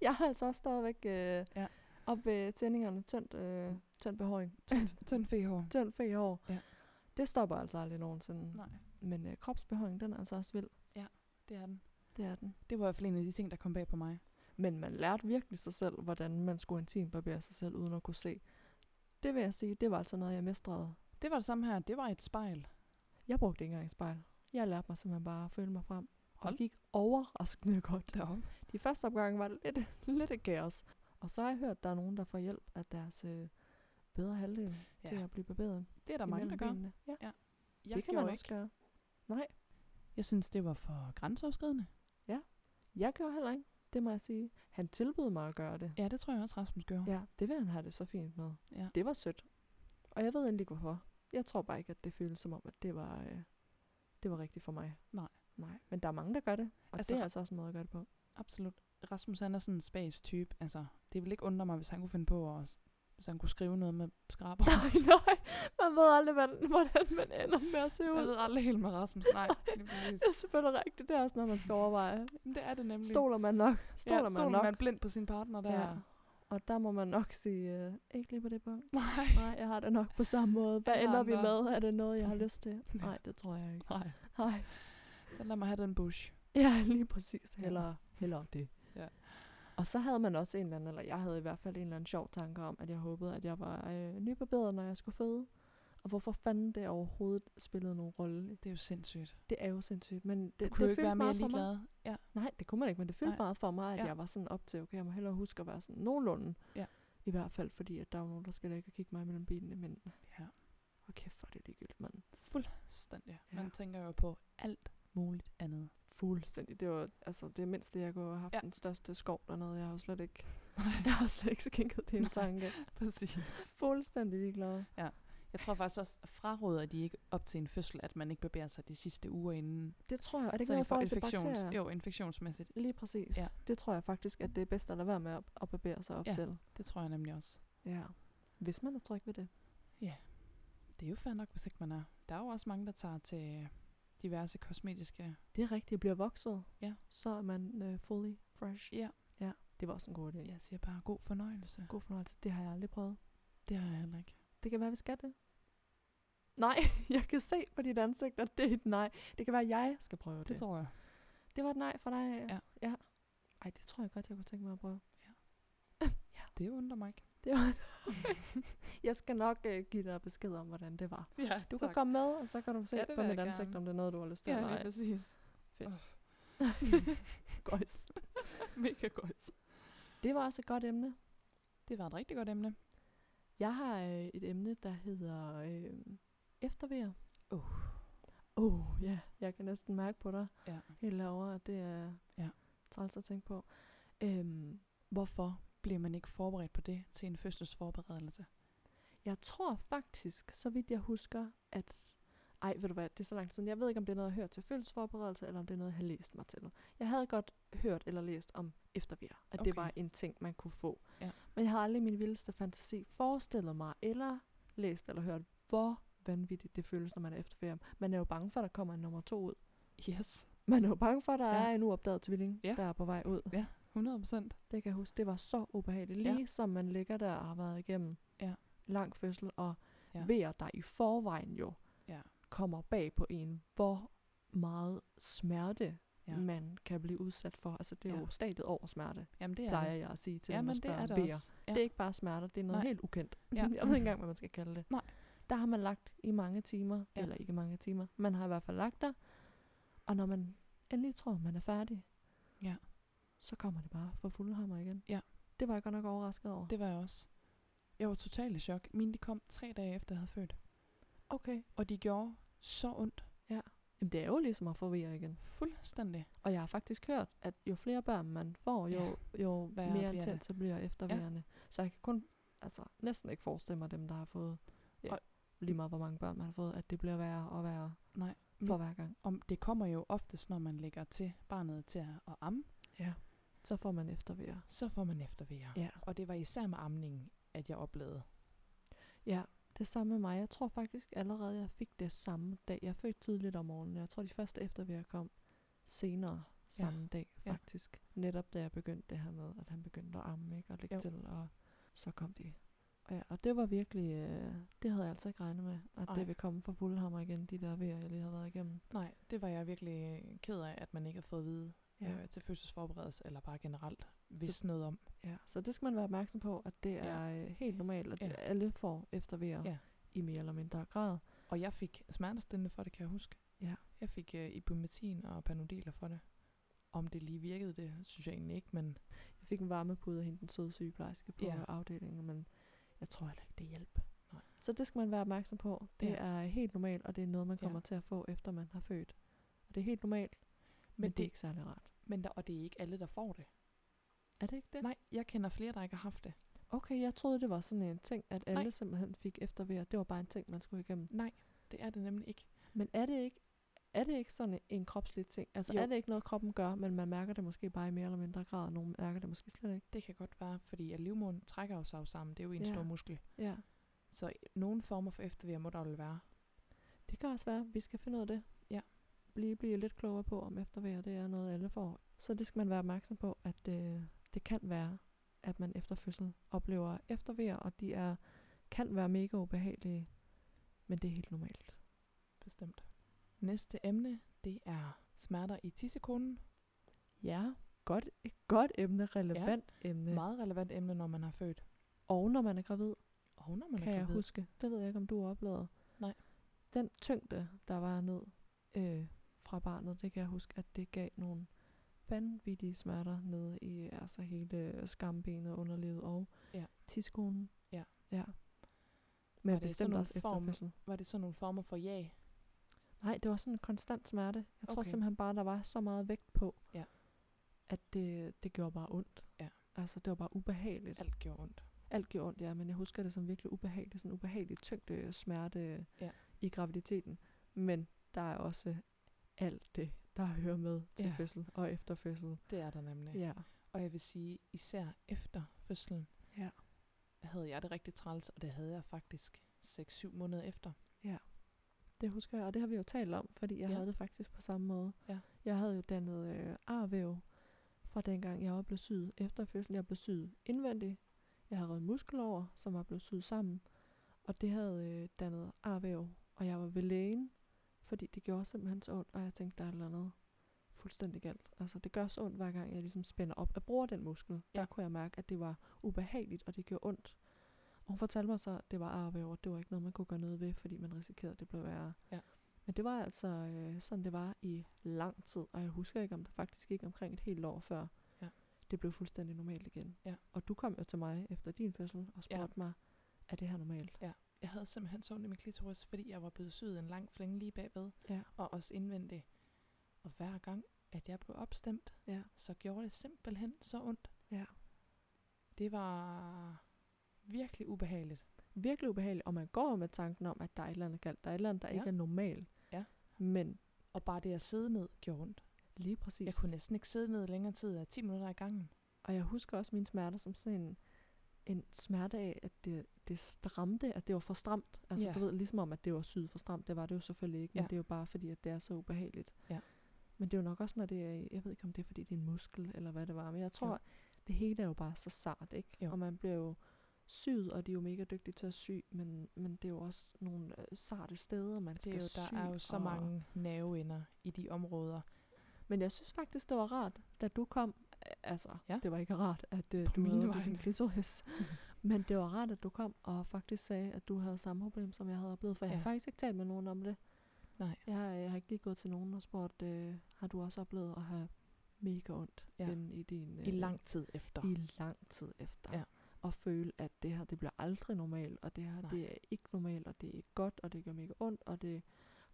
S1: Jeg har altså også stadigvæk øh,
S2: Ja.
S1: ja. op ved tændingerne tyndt, øh, tyndt behåring,
S2: Tynd- Tynd fehår.
S1: tyndt fehår.
S2: Ja.
S1: Det stopper altså aldrig nogensinde.
S2: Nej,
S1: Men øh, kropsbehåring, den er altså også vild.
S2: det er den.
S1: Det er den.
S2: Det var i hvert fald en af de ting, der kom bag på mig.
S1: Men man lærte virkelig sig selv, hvordan man skulle intimt barbere sig selv, uden at kunne se. Det vil jeg sige, det var altså noget, jeg mestrede.
S2: Det var det samme her. Det var et spejl.
S1: Jeg brugte ikke engang et spejl. Jeg lærte mig simpelthen bare at føle mig frem. Og
S2: Hold.
S1: det gik overraskende godt.
S2: Deroppe.
S1: De første omgange var det lidt, lidt et kaos. Og så har jeg hørt, at der er nogen, der får hjælp af deres øh, bedre halvdel ja. til
S2: Ja.
S1: at blive barberet.
S2: Det er der mange, der gør.
S1: Benene. Ja,
S2: Jeg
S1: det kan
S2: gjorde
S1: man
S2: ikke.
S1: også gøre.
S2: Jeg synes, det var for grænseoverskridende.
S1: Jeg gjorde heller ikke, det må jeg sige. Han tilbød mig at gøre det.
S2: Ja, det tror jeg også, Rasmus gjorde.
S1: Ja, det vil han have det så fint med.
S2: Ja.
S1: Det var sødt. Og jeg ved endelig ikke hvorfor. Jeg tror bare ikke, at det føles som om, at det var, øh, det var rigtigt for mig.
S2: Nej.
S1: Nej, men der er mange, der gør det. Og
S2: Altså,
S1: altså, det er
S2: re-
S1: altså også en måde at gøre det på.
S2: Absolut. Rasmus han er sådan en spas type. Altså, det ville ikke undre mig, hvis han kunne finde på at hvis han kunne skrive noget med skraber.
S1: Nej, nej. Man ved aldrig, hvordan, hvordan man ender med at se
S2: Jeg
S1: ud.
S2: ved aldrig helt med Rasmus, nej. Lige præcis.
S1: Det er selvfølgelig rigtigt. Det er også noget, man skal overveje.
S2: Men det er det nemlig.
S1: Stoler man nok? Stoler,
S2: ja, stoler
S1: man nok?
S2: man blind på sin partner der?
S1: Ja. Og der må man nok sige, øh, ikke lige på det punkt.
S2: Nej.
S1: Nej, jeg har det nok på samme måde. Hvad
S2: Alle
S1: ender vi
S2: andre.
S1: med? Er det noget, jeg har lyst til? Nej, det tror jeg ikke.
S2: Nej.
S1: Nej.
S2: Så lad mig have den bush.
S1: Ja, lige præcis.
S2: Ja.
S1: Heller, heller det.
S2: Ja.
S1: Og så havde man også en eller anden, eller jeg havde i hvert fald en eller anden sjov tanke om, at jeg håbede, at jeg var øh, nybarberet, når jeg skulle føde. Og hvorfor fanden det overhovedet spillede nogen rolle?
S2: Det er jo sindssygt.
S1: Det er jo sindssygt, men
S2: Du
S1: det,
S2: kunne jo
S1: det
S2: ikke
S1: fyldte
S2: være mere
S1: meget for mig.
S2: ligeglad. Ja.
S1: Nej, det kunne man ikke, men det fyldte
S2: Nej.
S1: meget for mig, at
S2: Ja.
S1: ja. jeg var sådan op til, okay, jeg må hellere huske at være sådan nogenlunde.
S2: Ja.
S1: I hvert fald, fordi at der er jo nogen, der skal lægge og kigge mig mellem benene, men
S2: ja.
S1: hvor kæft, hvor er det ligegyldigt, mand.
S2: Fuldstændig.
S1: Ja.
S2: Man tænker jo på alt muligt andet.
S1: Fuldstændig. Det var altså det mindste, jeg kunne have haft
S2: Ja.
S1: ja. den største skov dernede. Jeg har jo slet ikke, jeg har slet ikke skænket det en
S2: Nej.
S1: tanke.
S2: Præcis.
S1: Fuldstændig ligeglad.
S2: Jeg tror faktisk også, fraråder de ikke op til en fødsel, at man ikke bevæger sig de sidste uger inden.
S1: Det tror jeg. Er det ikke
S2: så
S1: noget i
S2: for
S1: forhold til
S2: infektions-
S1: bakterier?
S2: jo, infektionsmæssigt.
S1: Lige præcis.
S2: Ja.
S1: Ja. Det tror jeg faktisk, at det er bedst at lade være med at, at barbere sig op
S2: Ja.
S1: ja. til.
S2: Det tror jeg nemlig også.
S1: Ja. Hvis man er tryg ved det.
S2: Det er jo fair nok, hvis ikke man er. Der er jo også mange, der tager til diverse kosmetiske...
S1: Det er rigtigt. Bliver vokset.
S2: Ja.
S1: Så er man øh, fully fresh.
S2: Ja.
S1: Ja. Det var også en god idé.
S2: Jeg siger bare god fornøjelse.
S1: God fornøjelse. Det har jeg aldrig prøvet.
S2: Det har jeg heller ikke.
S1: Det kan være, vi skal det. Nej, jeg kan se på dit ansigt, at det er et nej. Det kan være, at jeg skal prøve det.
S2: Det tror jeg.
S1: Det var et nej for dig? øh,
S2: Ja.
S1: ja. Ej, det tror jeg godt, jeg kunne tænke mig at prøve.
S2: Det undrer mig ikke.
S1: Det var et Jeg skal nok øh, give dig besked om, hvordan det var.
S2: Ja,
S1: Du tak. kan komme med, og så kan du se
S2: Ja,
S1: ja,
S2: det vil
S1: på
S2: jeg
S1: mit
S2: gerne.
S1: ansigt, om det er noget, du har lyst til.
S2: Ja,
S1: eller
S2: lige
S1: ej.
S2: præcis.
S1: Fedt.
S2: Uff.
S1: Gøjs.
S2: Mega godt.
S1: Det var også et godt emne.
S2: Det var et rigtig godt emne.
S1: Jeg har øh, et emne, der hedder øh, eftervejer.
S2: Uh.
S1: Oh, ja. Jeg kan næsten mærke på dig
S2: Ja.
S1: helt herovre, at det er
S2: Ja.
S1: træls at tænke på. Øhm,
S2: Hvorfor bliver man ikke forberedt på det til en fødselsforberedelse?
S1: Jeg tror faktisk, så vidt jeg husker, at... Ej, ved du hvad, det er så lang tid siden. Jeg ved ikke, om det er noget, jeg har hørt til fødselsforberedelse, eller om det er noget, jeg har læst mig til. Jeg havde godt hørt eller læst om eftervejer, at okay. det
S2: Okay.
S1: var en ting, man kunne få.
S2: Ja.
S1: Men jeg har aldrig i min vildeste fantasi forestillet mig, eller læst eller hørt, hvor vanvittigt det føles, når man er eftervejer. Man er jo bange for, at der kommer en nummer to ud.
S2: Yes.
S1: Man er jo bange for, at der
S2: Ja.
S1: ja. er en uopdaget tvilling,
S2: Ja.
S1: der er på vej ud.
S2: 100 procent.
S1: Det kan jeg huske. Det var så ubehageligt.
S2: Ja.
S1: Lige som man ligger der og har været igennem
S2: Ja.
S1: lang fødsel, og
S2: Ja.
S1: ja. vejer der i forvejen jo
S2: Ja.
S1: kommer bag på en, hvor meget smerte
S2: Ja.
S1: ja. man kan blive udsat for. Altså det er
S2: Ja.
S1: jo stadiet over smerte,
S2: Jamen det
S1: ja.
S2: er
S1: plejer
S2: det.
S1: jeg at sige til dem,
S2: Jamen
S1: der
S2: det
S1: spørger
S2: er
S1: om
S2: det
S1: vejer.
S2: også. Ja.
S1: Det er ikke bare smerter, det er noget
S2: Nej.
S1: Nej. helt ukendt.
S2: Ja.
S1: Ja. jeg ved ikke engang, hvad man skal kalde det.
S2: Nej.
S1: Der har man lagt i mange timer,
S2: Ja.
S1: ja. eller ikke mange timer. Man har i hvert fald lagt der, og når man endelig tror, man er færdig,
S2: Ja.
S1: så kommer det bare for fuld hammer igen.
S2: Ja.
S1: Det var jeg godt nok overrasket over. Det.
S2: Det var jeg også. Jeg var totalt i chok. Mine de kom tre dage efter, jeg havde født.
S1: Okay.
S2: Og de gjorde så ondt.
S1: Jamen, det er jo ligesom at forvirre igen.
S2: Fuldstændig.
S1: Og jeg har faktisk hørt, at jo flere børn man får, jo,
S2: Ja.
S1: jo
S2: Værre bliver
S1: mere
S2: det.
S1: intens så bliver efterværende. Ja. Så jeg kan kun, altså næsten ikke forestille mig dem, der har fået, ja,
S2: Og-
S1: lige meget hvor mange børn man har fået, at det bliver værre og værre
S2: Nej.
S1: for hver gang.
S2: Om det kommer jo oftest, når man lægger til barnet til at- at amme,
S1: Ja. Så får man efterværende.
S2: så får man eftervejer.
S1: Ja.
S2: Og det var især med amningen, at jeg oplevede.
S1: Ja, det samme med mig. Jeg tror faktisk allerede, jeg fik det samme dag. Jeg fødte tidligt om morgenen. og Jeg tror, de første efterværende kom senere
S2: Ja.
S1: samme dag,
S2: Ja.
S1: faktisk. Netop da jeg begyndte det her med, at han begyndte at amme ikke, og lægge
S2: Jo.
S1: til, og så kom de. Og, ja, og det var virkelig, øh, det havde jeg altså ikke regnet med, at
S2: Ej.
S1: det ville komme for fuld hammer igen, de der vejer, jeg lige havde været igennem.
S2: Nej, det var jeg virkelig ked af, at man ikke havde fået at vide ja.
S1: Ja.
S2: øh, til fødselsforberedelse, eller bare generelt vidst noget om.
S1: Ja, så det skal man være opmærksom på, at det
S2: Ja.
S1: er øh, helt normalt, at
S2: Ja.
S1: ja. alle får eftervejer
S2: Ja.
S1: ja. i mere eller mindre grad.
S2: Og jeg fik smertestillende for det, kan jeg huske.
S1: Ja.
S2: Jeg fik øh, ibumetin og panodiler for det. Om det lige virkede, det synes jeg egentlig ikke, men
S1: Jeg fik en varmepude af hende, den søde sygeplejerske på
S2: Ja.
S1: ja. afdelingen, men Jeg tror heller ikke, det hjælper.
S2: Nej.
S1: Så det skal man være opmærksom på. Det
S2: Ja.
S1: er helt normalt, og det er noget, man
S2: Ja.
S1: kommer til at få, efter man har født. Og det er helt normalt, men,
S2: Men
S1: det er
S2: det,
S1: ikke særlig rart.
S2: men der, og det er ikke alle, der får det.
S1: Er det ikke det?
S2: Nej, jeg kender flere, der ikke har haft det.
S1: Okay, jeg troede, det var sådan en ting, at alle
S2: Nej.
S1: simpelthen fik eftervejr. Det var bare en ting, man skulle igennem.
S2: Nej, det er det nemlig ikke.
S1: Men er det ikke, er det ikke sådan en kropslig ting? Altså
S2: Jo.
S1: jo. er det ikke noget, kroppen gør, men man mærker det måske bare i mere eller mindre grad, og nogen mærker det måske slet ikke?
S2: Det kan godt være, fordi at livmoderen trækker jo sig jo sammen. Det er jo en
S1: Ja.
S2: stor muskel.
S1: Ja,
S2: Så nogle former for eftervær må der jo være.
S1: det kan også være. Vi skal finde ud af det.
S2: Ja.
S1: Blive, blive lidt klogere på, om eftervejr det er noget, alle får. Så det skal man være opmærksom på, at øh, det kan være, at man efter fødsel oplever eftervejr, og de er, kan være mega ubehagelige, men det er helt normalt.
S2: Bestemt. Næste emne, det er smerter i tissekonen.
S1: Ja, godt, et godt emne, relevant ja. emne.
S2: Meget relevant emne, når man har født.
S1: Og når man er gravid,
S2: Og når man
S1: kan
S2: er
S1: jeg
S2: gravid.
S1: huske. Det ved jeg ikke, om du oplevede.
S2: Nej.
S1: Den tyngde, der var ned øh, fra barnet, det kan jeg huske, at det gav nogle vanvittige smerter nede i altså hele skambenet, underlivet og
S2: Ja.
S1: tissekonen.
S2: Ja.
S1: ja.
S2: det
S1: Men
S2: sådan
S1: bestemt
S2: nogle
S1: også efter
S2: form-
S1: fødsel.
S2: Var det sådan nogle former for ja?
S1: Nej, det var sådan en konstant smerte. Jeg tror
S2: Okay.
S1: simpelthen bare, der var så meget vægt på,
S2: Ja.
S1: at det, det gjorde bare ondt.
S2: Ja.
S1: Altså, det var bare ubehageligt.
S2: Alt gjorde ondt.
S1: alt gjorde ondt, ja, men jeg husker det som virkelig ubehageligt, sådan ubehagelig tyngde øh, smerte
S2: Ja.
S1: ja. i graviditeten. Men der er også alt det, der hører med til
S2: Ja.
S1: ja. fødsel og efter fødsel.
S2: Det er der nemlig.
S1: Ja.
S2: Og jeg vil sige, især efter fødslen,
S1: Ja.
S2: havde jeg det rigtig træls, og det havde jeg faktisk 6-7 måneder efter.
S1: Det husker jeg, og det har vi jo talt om, fordi jeg
S2: Ja.
S1: ja. havde det faktisk på samme måde.
S2: Ja.
S1: Jeg havde jo dannet øh, arvæv fra dengang, jeg var blevet syet efter fødslen. Jeg blev syet indvendigt. Jeg havde røget muskel over, som var blevet syet sammen. Og det havde øh, dannet arvæv, og jeg var ved lægen, fordi det gjorde simpelthen så ondt, og jeg tænkte, der er et eller andet fuldstændig galt. Altså, det gør så ondt, hver gang jeg ligesom spænder op og bruger den muskel.
S2: Ja.
S1: Der kunne jeg mærke, at det var ubehageligt, og det gjorde ondt. Og hun fortalte mig så, at det var arvæv, og det var ikke noget, man kunne gøre noget ved, fordi man risikerede, at det blev værre. Men det var altså øh, sådan, det var i lang tid, og jeg husker ikke, om det faktisk gik omkring et helt år før,
S2: Ja.
S1: det blev fuldstændig normalt igen.
S2: Ja.
S1: Og du kom jo til mig efter din fødsel og
S2: Ja.
S1: spurgte ja. mig, er det her normalt?
S2: Jeg havde simpelthen så ondt i min klitoris, fordi jeg var blevet syet en lang flænge lige bagved,
S1: Ja.
S2: og også indvendigt. Og hver gang, at jeg blev opstemt,
S1: Ja.
S2: så gjorde det simpelthen så ondt.
S1: Ja.
S2: Det var virkelig ubehageligt.
S1: Virkelig ubehageligt, og man går jo med tanken om, at der er et eller andet galt, der er et eller andet, der
S2: Ja.
S1: ja. ikke er normalt.
S2: Ja.
S1: Men
S2: Og bare det at sidde ned gjorde ondt.
S1: lige præcis.
S2: Jeg kunne næsten ikke sidde ned længere tid af 10 minutter i gangen.
S1: Og jeg husker også mine smerter som sådan en, en smerte af, at det, det stramte, at det var for stramt. Altså
S2: Ja.
S1: du ved, ligesom om, at det var syet for stramt, det var det jo selvfølgelig ikke, men
S2: Ja.
S1: ja. det er jo bare fordi, at det er så ubehageligt.
S2: Ja.
S1: Men det er jo nok også, når det er, jeg ved ikke om det er fordi, det er en muskel, eller hvad det var, men jeg tror,
S2: Jo.
S1: jo. det hele er jo bare så sart, ikke?
S2: Jo.
S1: Og man bliver jo syet, og de er jo mega dygtige til at sy, men, men det er jo også nogle øh, sarte steder, man
S2: Altså, Det
S1: skal
S2: er jo,
S1: sy,
S2: der er jo så
S1: og-
S2: mange nerveender i de områder.
S1: Men jeg synes faktisk, det var rart, da du kom. Altså,
S2: Ja.
S1: ja. det var ikke rart, at uh,
S2: På
S1: du
S2: mine
S1: havde ondt i
S2: vegne.
S1: din klitoris. Men det var rart, at du kom og faktisk sagde, at du havde samme problem, som jeg havde oplevet. For jeg
S2: Ja.
S1: har faktisk ikke talt med nogen om det.
S2: Nej.
S1: Jeg har, jeg har ikke lige gået til nogen og spurgt, øh, har du også oplevet at have mega ondt
S2: Ja.
S1: ja. i din... øh,
S2: I lang tid efter.
S1: I lang tid efter.
S2: Ja.
S1: Og føle, at det her, det bliver aldrig normalt, og det her,
S2: Nej.
S1: Nej. det er ikke normalt, og det er ikke godt, og det gør mega ondt, og det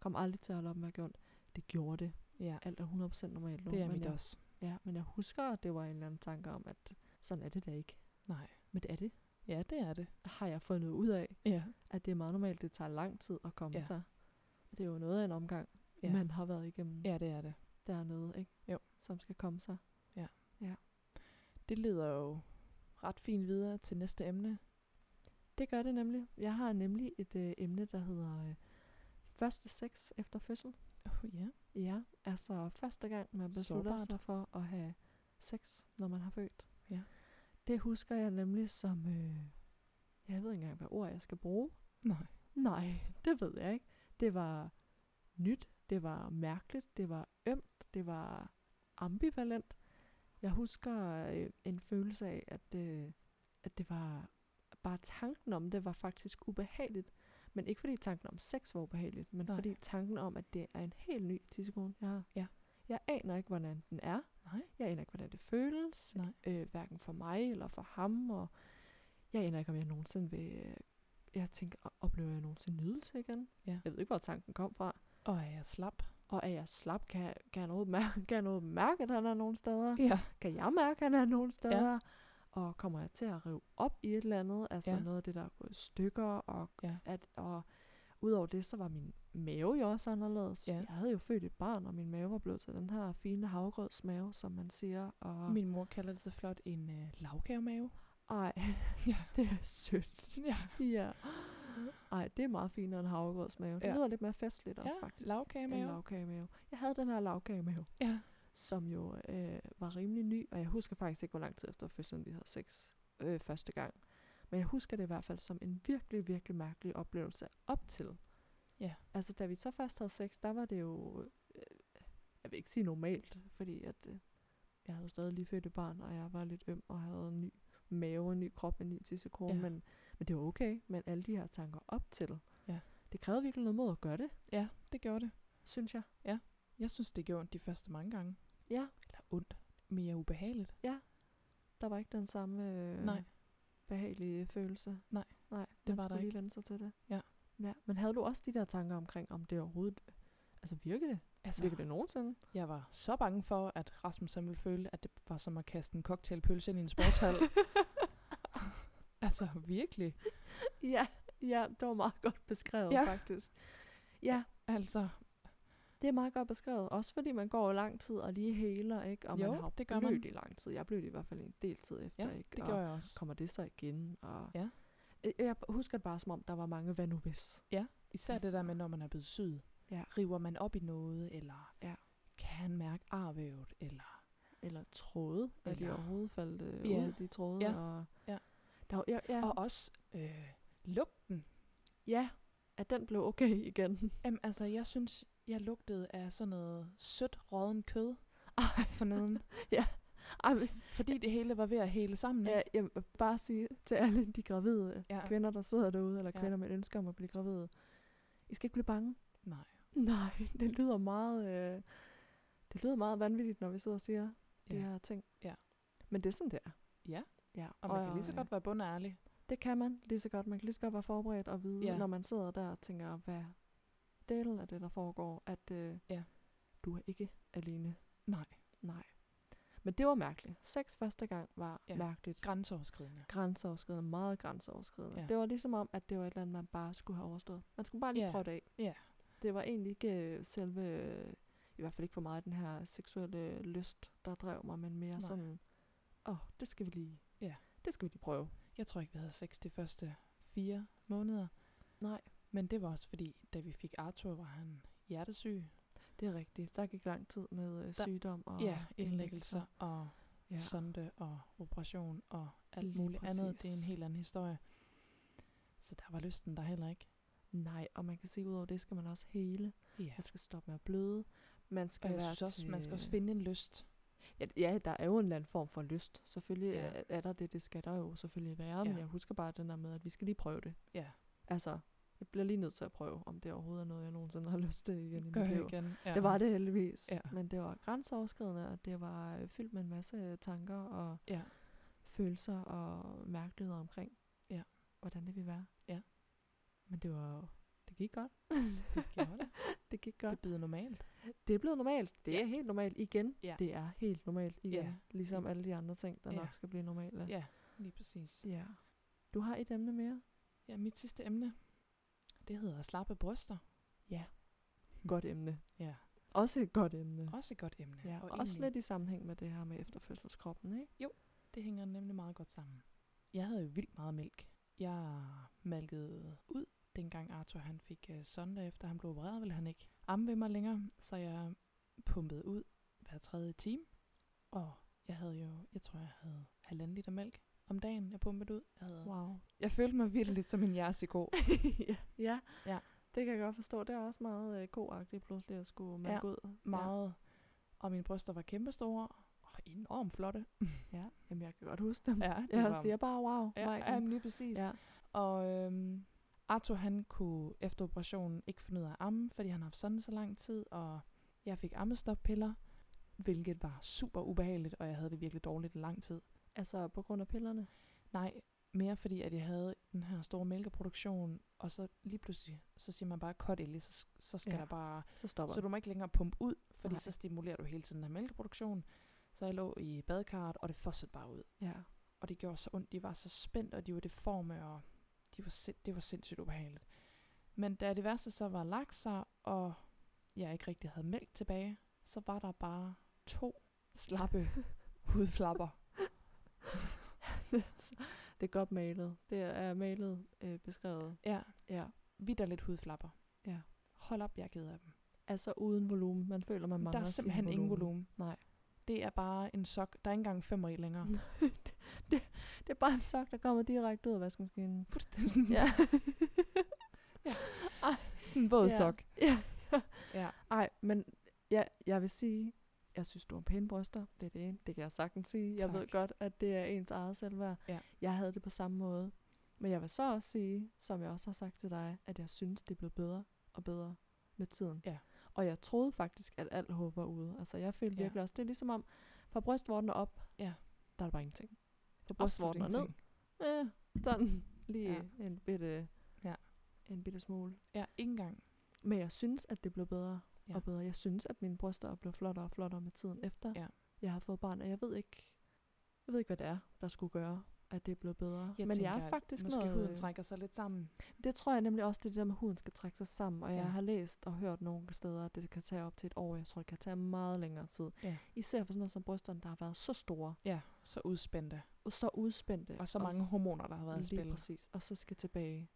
S1: kommer aldrig til at holde op med at gøre ondt. Det gjorde det.
S2: Ja,
S1: Alt er 100% normalt nu.
S2: det er
S1: men
S2: mit
S1: jeg
S2: også.
S1: Ja, men jeg husker, at det var en eller anden tanke om, at sådan er det da ikke.
S2: Nej.
S1: Men det er det.
S2: Ja, det er det.
S1: Har jeg fundet ud af,
S2: Ja.
S1: at det er meget normalt, det tager lang tid at komme
S2: Ja.
S1: ja. sig. Det er jo noget af en omgang,
S2: Ja.
S1: ja. man har været igennem ja.
S2: Ja, det er det.
S1: dernede, ikke?
S2: Jo.
S1: Som skal komme sig.
S2: Det leder jo ret fint videre til næste emne.
S1: Det gør det nemlig. Jeg har nemlig et øh, emne, der hedder øh, første sex efter fødsel.
S2: Oh, ja.
S1: Ja, altså første gang, man beslutter
S2: Sårbart.
S1: Sårbart. sig for at have sex, når man har født.
S2: Ja.
S1: Det husker jeg nemlig som, øh, jeg ved ikke engang, hvad ord jeg skal bruge.
S2: Nej.
S1: Nej, det ved jeg ikke. Det var nyt, det var mærkeligt, det var ømt, det var ambivalent. Jeg husker øh, en følelse af, at, øh, at det var bare tanken om det var faktisk ubehageligt. Men ikke fordi tanken om sex var ubehageligt, men
S2: Nej.
S1: Nej. fordi tanken om, at det er en helt ny tissekone, jeg har.
S2: Ja.
S1: Jeg aner ikke, hvordan den er.
S2: Nej.
S1: Jeg aner ikke, hvordan det føles.
S2: Nej.
S1: Øh, hverken for mig eller for ham. Og Jeg aner ikke, om jeg nogensinde vil... øh, Jeg tænker, "O- oplever jeg nogensinde nydelse igen?
S2: Ja.
S1: Jeg ved ikke, hvor tanken kom fra.
S2: Og er jeg slap?
S1: Og er jeg slap? Kan, jeg- kan, jeg, noget mærke, kan jeg noget mærke, at han er nogen steder?
S2: Ja.
S1: Kan jeg mærke, at han er nogen steder? Ja. Og kommer jeg til at rive op i et eller andet? Altså
S2: Ja.
S1: ja. noget af det, der er gået i stykker. Og,
S2: Ja.
S1: at, og udover det, så var min mave jo også anderledes.
S2: Ja.
S1: Jeg havde jo født et barn, og min mave var blevet til den her fine havgrødsmave, som man siger. Og
S2: Min mor kalder det så flot en øh, lavkagemave.
S1: Ej,
S2: Ja.
S1: det er sødt.
S2: Ja,
S1: Ja. Ej, det er meget finere end havregrødsmave. Det
S2: Ja.
S1: ja. lyder lidt mere festligt også,
S2: ja
S1: faktisk. En
S2: lavkagemave.
S1: lavkagemave. Jeg havde den her lavkagemave,
S2: Ja.
S1: som jo øh, var rimelig ny, og jeg husker faktisk ikke, hvor lang tid efter fødslen vi havde sex øh, første gang. Men jeg husker det i hvert fald som en virkelig, virkelig mærkelig oplevelse op til.
S2: Ja.
S1: Altså, da vi så først havde sex, der var det jo, øh, jeg vil ikke sige normalt, fordi at, øh, jeg havde jo stadig lige født et barn, og jeg var lidt øm og havde en ny mave, en ny krop, en ny tissekone,
S2: Ja.
S1: ja. men, men det var okay. Men alle de her tanker op til,
S2: Ja.
S1: det krævede virkelig noget mod at gøre det,
S2: Ja, det gjorde det.
S1: synes jeg.
S2: Jeg synes, det gjorde ondt de første mange gange.
S1: Ja,
S2: Eller ondt. Mere ubehageligt.
S1: der var ikke den samme øh,
S2: Nej.
S1: behagelige følelse.
S2: Nej,
S1: Nej det
S2: var
S1: man
S2: der
S1: skulle lige
S2: ikke.
S1: vende sig til det.
S2: Ja.
S1: ja. Men havde du også de der tanker omkring, om det overhovedet, altså virker det?
S2: Altså,
S1: Virker det nogensinde?
S2: jeg var så bange for, at Rasmus han ville føle, at det var som at kaste en cocktailpølse ind i en sportshal. altså, virkelig.
S1: Ja, ja, det var meget godt beskrevet
S2: Ja.
S1: faktisk. Ja,
S2: Altså,
S1: det er meget godt beskrevet. Også fordi man går jo lang tid og lige heler, ikke? Og
S2: Jo,
S1: man har
S2: det gør man.
S1: blødt i lang tid. Jeg blødte i hvert fald en del tid efter,
S2: ja,
S1: ikke?
S2: det
S1: og
S2: gjorde jeg også.
S1: kommer det så igen? Og
S2: Ja.
S1: Øh, Jeg husker det bare som om, der var mange hvad nu hvis.
S2: Især det der med, når man er blevet syet.
S1: Ja.
S2: River man op i noget, eller
S1: Ja.
S2: kan han mærke arvævet, eller...
S1: Eller tråde, at de
S2: Eller-
S1: overhovedet faldt øh,
S2: Ja.
S1: ud, de tråde.
S2: Ja.
S1: Og
S2: Ja.
S1: Der, var- ja, ja,
S2: Og også øh, lugten.
S1: Ja, at den blev okay igen.
S2: Jamen, altså, jeg synes, jeg lugtede af sådan noget sødt, råden kød forneden.
S1: Ej, men,
S2: fordi det hele var ved at hele sammen, ikke?
S1: ja, jeg vil bare sige til alle de gravide
S2: Ja.
S1: ja. kvinder, der sidder derude, eller
S2: Ja.
S1: ja. kvinder med et ønske om at blive gravide. I skal ikke blive bange.
S2: Nej.
S1: Nej, det lyder meget, øh, det lyder meget vanvittigt, når vi sidder og siger ja.
S2: Ja.
S1: de her ting.
S2: Ja.
S1: Men det er sådan, det er.
S2: Ja.
S1: ja.
S2: Og man kan lige så
S1: øh,
S2: godt være bundærlig.
S1: Det kan man lige så godt. Man kan lige så godt være forberedt og vide,
S2: Ja.
S1: ja. når man sidder der og tænker, hvad delen af det, der foregår, at øh,
S2: Ja.
S1: du er ikke alene.
S2: Nej.
S1: Nej. Men det var mærkeligt. Sex første gang var
S2: Ja.
S1: ja. mærkeligt.
S2: Grænseoverskridende.
S1: Grænseoverskridende, meget grænseoverskridende.
S2: Ja.
S1: Ja. Det var ligesom om, at det var et eller andet, man bare skulle have overstået. Man skulle bare lige
S2: Ja.
S1: yeah. prøve det af.
S2: Ja.
S1: Det var egentlig ikke øh, selve, øh, i hvert fald ikke for meget, den her seksuelle lyst, der drev mig, men mere
S2: Nej.
S1: Nej. sådan, åh, oh, det skal vi lige,
S2: Ja.
S1: det skal vi lige prøve.
S2: Jeg tror ikke, vi havde sex de første fire måneder.
S1: Nej.
S2: Men det var også fordi, da vi fik Arthur, var han hjertesyg.
S1: Det er rigtigt. Der gik lang tid med øh,
S2: Der-
S1: sygdom og
S2: Og ja, indlæggelser og ja.
S1: Ja.
S2: sonde og operation og alt
S1: Lige
S2: muligt præcis. andet. Det er en
S1: præcis.
S2: helt anden historie. Så der var lysten der heller ikke.
S1: Nej, og man kan sige, udover det skal man også hele.
S2: Ja.
S1: Man skal stoppe med at bløde. Man skal
S2: Og jeg
S1: være
S2: synes også,
S1: til...
S2: man skal også finde en lyst.
S1: Ja, ja, der er jo en eller anden form for lyst. Selvfølgelig
S2: Ja.
S1: ja. er, er der det, det skal der jo selvfølgelig være. Men
S2: Ja.
S1: jeg husker bare den der med, at vi skal lige prøve det.
S2: Ja,
S1: Altså, jeg bliver lige nødt til at prøve, om det overhovedet er noget, jeg nogensinde har lyst til igen i
S2: gør
S1: mit liv.
S2: igen. Ja.
S1: Det var det heldigvis.
S2: Ja.
S1: Men det var grænseoverskridende, og det var øh, fyldt med en masse øh, tanker og
S2: Ja.
S1: følelser og mærkeligheder omkring,
S2: Ja.
S1: hvordan det ville være.
S2: Ja.
S1: Men det var jo- det gik godt.
S2: Det gjorde det.
S1: Det gik
S2: Det
S1: godt.
S2: bliver normalt.
S1: Det er blevet normalt. Det
S2: Ja.
S1: er helt normalt igen.
S2: Ja.
S1: Det er helt normalt igen.
S2: Ja. Mm.
S1: Ligesom alle de andre ting, der
S2: Ja.
S1: nok skal blive normale.
S2: Ja, lige præcis.
S1: ja. Du har et emne mere?
S2: Ja, mit sidste emne, det hedder slappe bryster.
S1: Ja.
S2: Hm.
S1: Godt emne.
S2: Ja,
S1: Også et godt emne.
S2: også et godt emne.
S1: Ja, og også
S2: egentlig-
S1: lidt i sammenhæng med det her med efterfødselskroppen, ikke?
S2: Det hænger nemlig meget godt sammen. Jeg havde jo vildt meget mælk. Jeg malkede ud, dengang Arthur han fik øh, sonde efter han blev opereret, ville han ikke amme ved mig længere, så jeg pumpede ud hver tredje time. Og jeg havde jo, jeg tror jeg havde halvanden liter mælk om dagen, jeg pumpede ud. Jeg, havde,
S1: Wow.
S2: jeg følte mig virkelig lidt som en jærsiko.
S1: ja. ja.
S2: Ja.
S1: Det kan jeg godt forstå. Det er også meget øh, godagtigt pludselig at skulle mærke ud.
S2: Meget. Og mine bryster var kæmpestore og enormt flotte.
S1: Ja. ja. Jamen, jeg kan godt huske dem.
S2: Ja,
S1: jeg siger bare wow.
S2: ja,
S1: Maiken.
S2: ja, lige præcis.
S1: ja.
S2: Og øhm, Arthur han kunne efter operationen ikke finde ud af at amme, fordi han har haft sådan så lang tid, og jeg fik ammestoppiller, hvilket var super ubehageligt, og jeg havde det virkelig dårligt i lang tid.
S1: Altså, på grund af pillerne?
S2: Nej, Mere fordi, at jeg havde den her store mælkeproduktion, og så lige pludselig, så siger man bare, cut Ellie, så, s- så skal
S1: Ja.
S2: ja. der bare
S1: Så stopper
S2: så
S1: så
S2: du må ikke længere pumpe ud, fordi
S1: Nej.
S2: Nej. så stimulerer du hele tiden den her mælkeproduktion. Så jeg lå i badekarret, og det fossede bare ud.
S1: Ja.
S2: Og det gjorde så ondt. De var så spændt, og de var deforme, og de var sind- det var sindssygt ubehageligt. Men da det værste så var lagt sig, og jeg ikke rigtig havde mælk tilbage, så var der bare to slappe hudflapper.
S1: det er godt malet. Det er malet øh, beskrevet.
S2: Ja,
S1: Ja.
S2: vidderligt hudflapper.
S1: Ja.
S2: Hold op, jeg er ked af dem.
S1: Altså uden volumen. Man føler, man mangler
S2: der er
S1: sin
S2: simpelthen ingen
S1: volumen.
S2: volumen.
S1: Nej.
S2: Det er bare en sok. Der er ikke engang femmer i længere.
S1: Det er bare en sok, der kommer direkte ud af vaskemaskinen.
S2: Fuldstændig sådan,
S1: Ja.
S2: sådan en våd
S1: Ja.
S2: sok.
S1: ja.
S2: Ja.
S1: Ej, men ja, jeg vil sige, jeg synes, du har pæne bryster. Det er det ene. Det kan jeg sagtens sige. Jeg ved
S2: Tak.
S1: godt, at det er ens eget selvværd.
S2: Ja.
S1: Jeg havde det på samme måde. Men jeg vil så også sige, som jeg også har sagt til dig, at jeg synes, det blev bedre og bedre med tiden.
S2: Ja.
S1: Og jeg troede faktisk, at alt håb var ude. Altså, jeg følte
S2: Ja.
S1: virkelig også, det er ligesom om, fra brystvorten og op,
S2: Ja.
S1: der er der bare ingenting. Fra
S2: Absolut
S1: brystvorten og ned,
S2: ingenting.
S1: øh, sådan lige
S2: Ja.
S1: en bitte,
S2: Ja.
S1: en bitte smule.
S2: Ja, ikke engang.
S1: Men jeg synes, at det blev bedre ja.
S2: Ja.
S1: og bedre. Jeg synes, at mine bryster er blevet flottere og flottere med tiden efter,
S2: Ja.
S1: jeg har fået barn. Og jeg ved ikke, jeg ved ikke hvad det er, der skulle gøre, at det er blevet bedre.
S2: Jeg
S1: Men
S2: tænker,
S1: jeg er
S2: at
S1: faktisk
S2: Måske
S1: noget... øh,
S2: huden trækker sig lidt sammen.
S1: Det tror jeg nemlig også, det er det der med, at huden skal trække sig sammen. Og ja.
S2: Ja.
S1: jeg har læst og hørt nogle steder, at det kan tage op til et år. Jeg tror, det kan tage meget længere tid.
S2: Ja.
S1: Især for sådan noget som brysterne, der har været så store
S2: Ja, så udspændte.
S1: og så udspændte.
S2: Og så mange
S1: s-
S2: hormoner, der har været i
S1: Lige
S2: spil.
S1: præcis. Og så skal tilbage.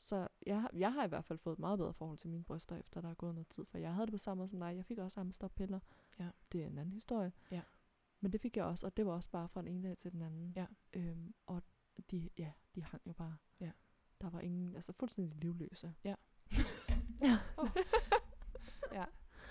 S1: Så jeg, har- jeg har i hvert fald fået et meget bedre forhold til mine bryster, efter der er gået noget tid. For jeg havde det på samme måde som dig. Jeg fik også ammestoppiller.
S2: Ja.
S1: Det er en anden historie.
S2: Ja.
S1: Men det fik jeg også, og det var også bare fra den ene dag til den anden.
S2: Ja.
S1: Øhm, og de, ja, de hang jo bare.
S2: Ja.
S1: Der var ingen, altså fuldstændig livløse.
S2: Ja.
S1: ja.
S2: Ja,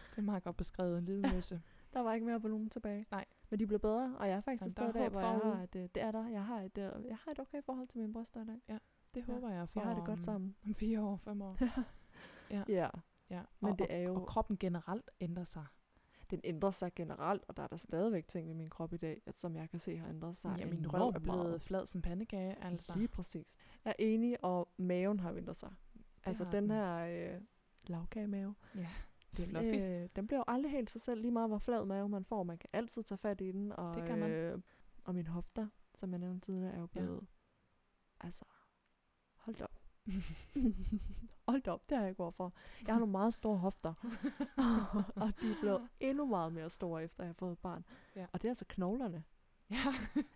S2: det er meget godt beskrevet. En lidløse.
S1: Der var ikke mere volumen tilbage.
S2: Nej.
S1: Men de blev bedre, og jeg er faktisk
S2: Jamen,
S1: et
S2: der er
S1: sted i dag,
S2: håb
S1: hvor jeg
S2: forude.
S1: har et, øh, det er der. Jeg har et, øh, jeg har et okay forhold til mine bryster i dag.
S2: Det håber jeg
S1: Vi
S2: for
S1: har det godt
S2: om-
S1: sammen.
S2: Om fire år, fem år.
S1: Ja.
S2: Ja.
S1: Men
S2: og,
S1: det er jo,
S2: og, og kroppen generelt ændrer sig.
S1: den ændrer sig generelt, og der er der stadigvæk ting ved min krop i dag, at, som jeg kan se har ændret sig
S2: ja, min
S1: enormt
S2: røv er blevet
S1: meget.
S2: flad som pandekage. Altså.
S1: Lige præcis. Jeg er enig, og maven har ændret sig.
S2: Det
S1: altså
S2: har
S1: den
S2: den.
S1: her øh, lavkagemave, den,
S2: Fluffy.
S1: øh, den bliver jo aldrig helt sig selv, lige meget hvor flad mave man får. Man kan altid tage fat i den, og,
S2: Det kan man.
S1: Øh, og min hofter, som jeg nævnte tidligere, er jo
S2: Ja.
S1: blevet, altså, hold da op. hold da op, det har jeg ikke ord for. Jeg har nogle meget store hofter, og de er blevet endnu meget mere store, efter jeg har fået et barn.
S2: Ja.
S1: Og det er altså knoglerne.
S2: ja.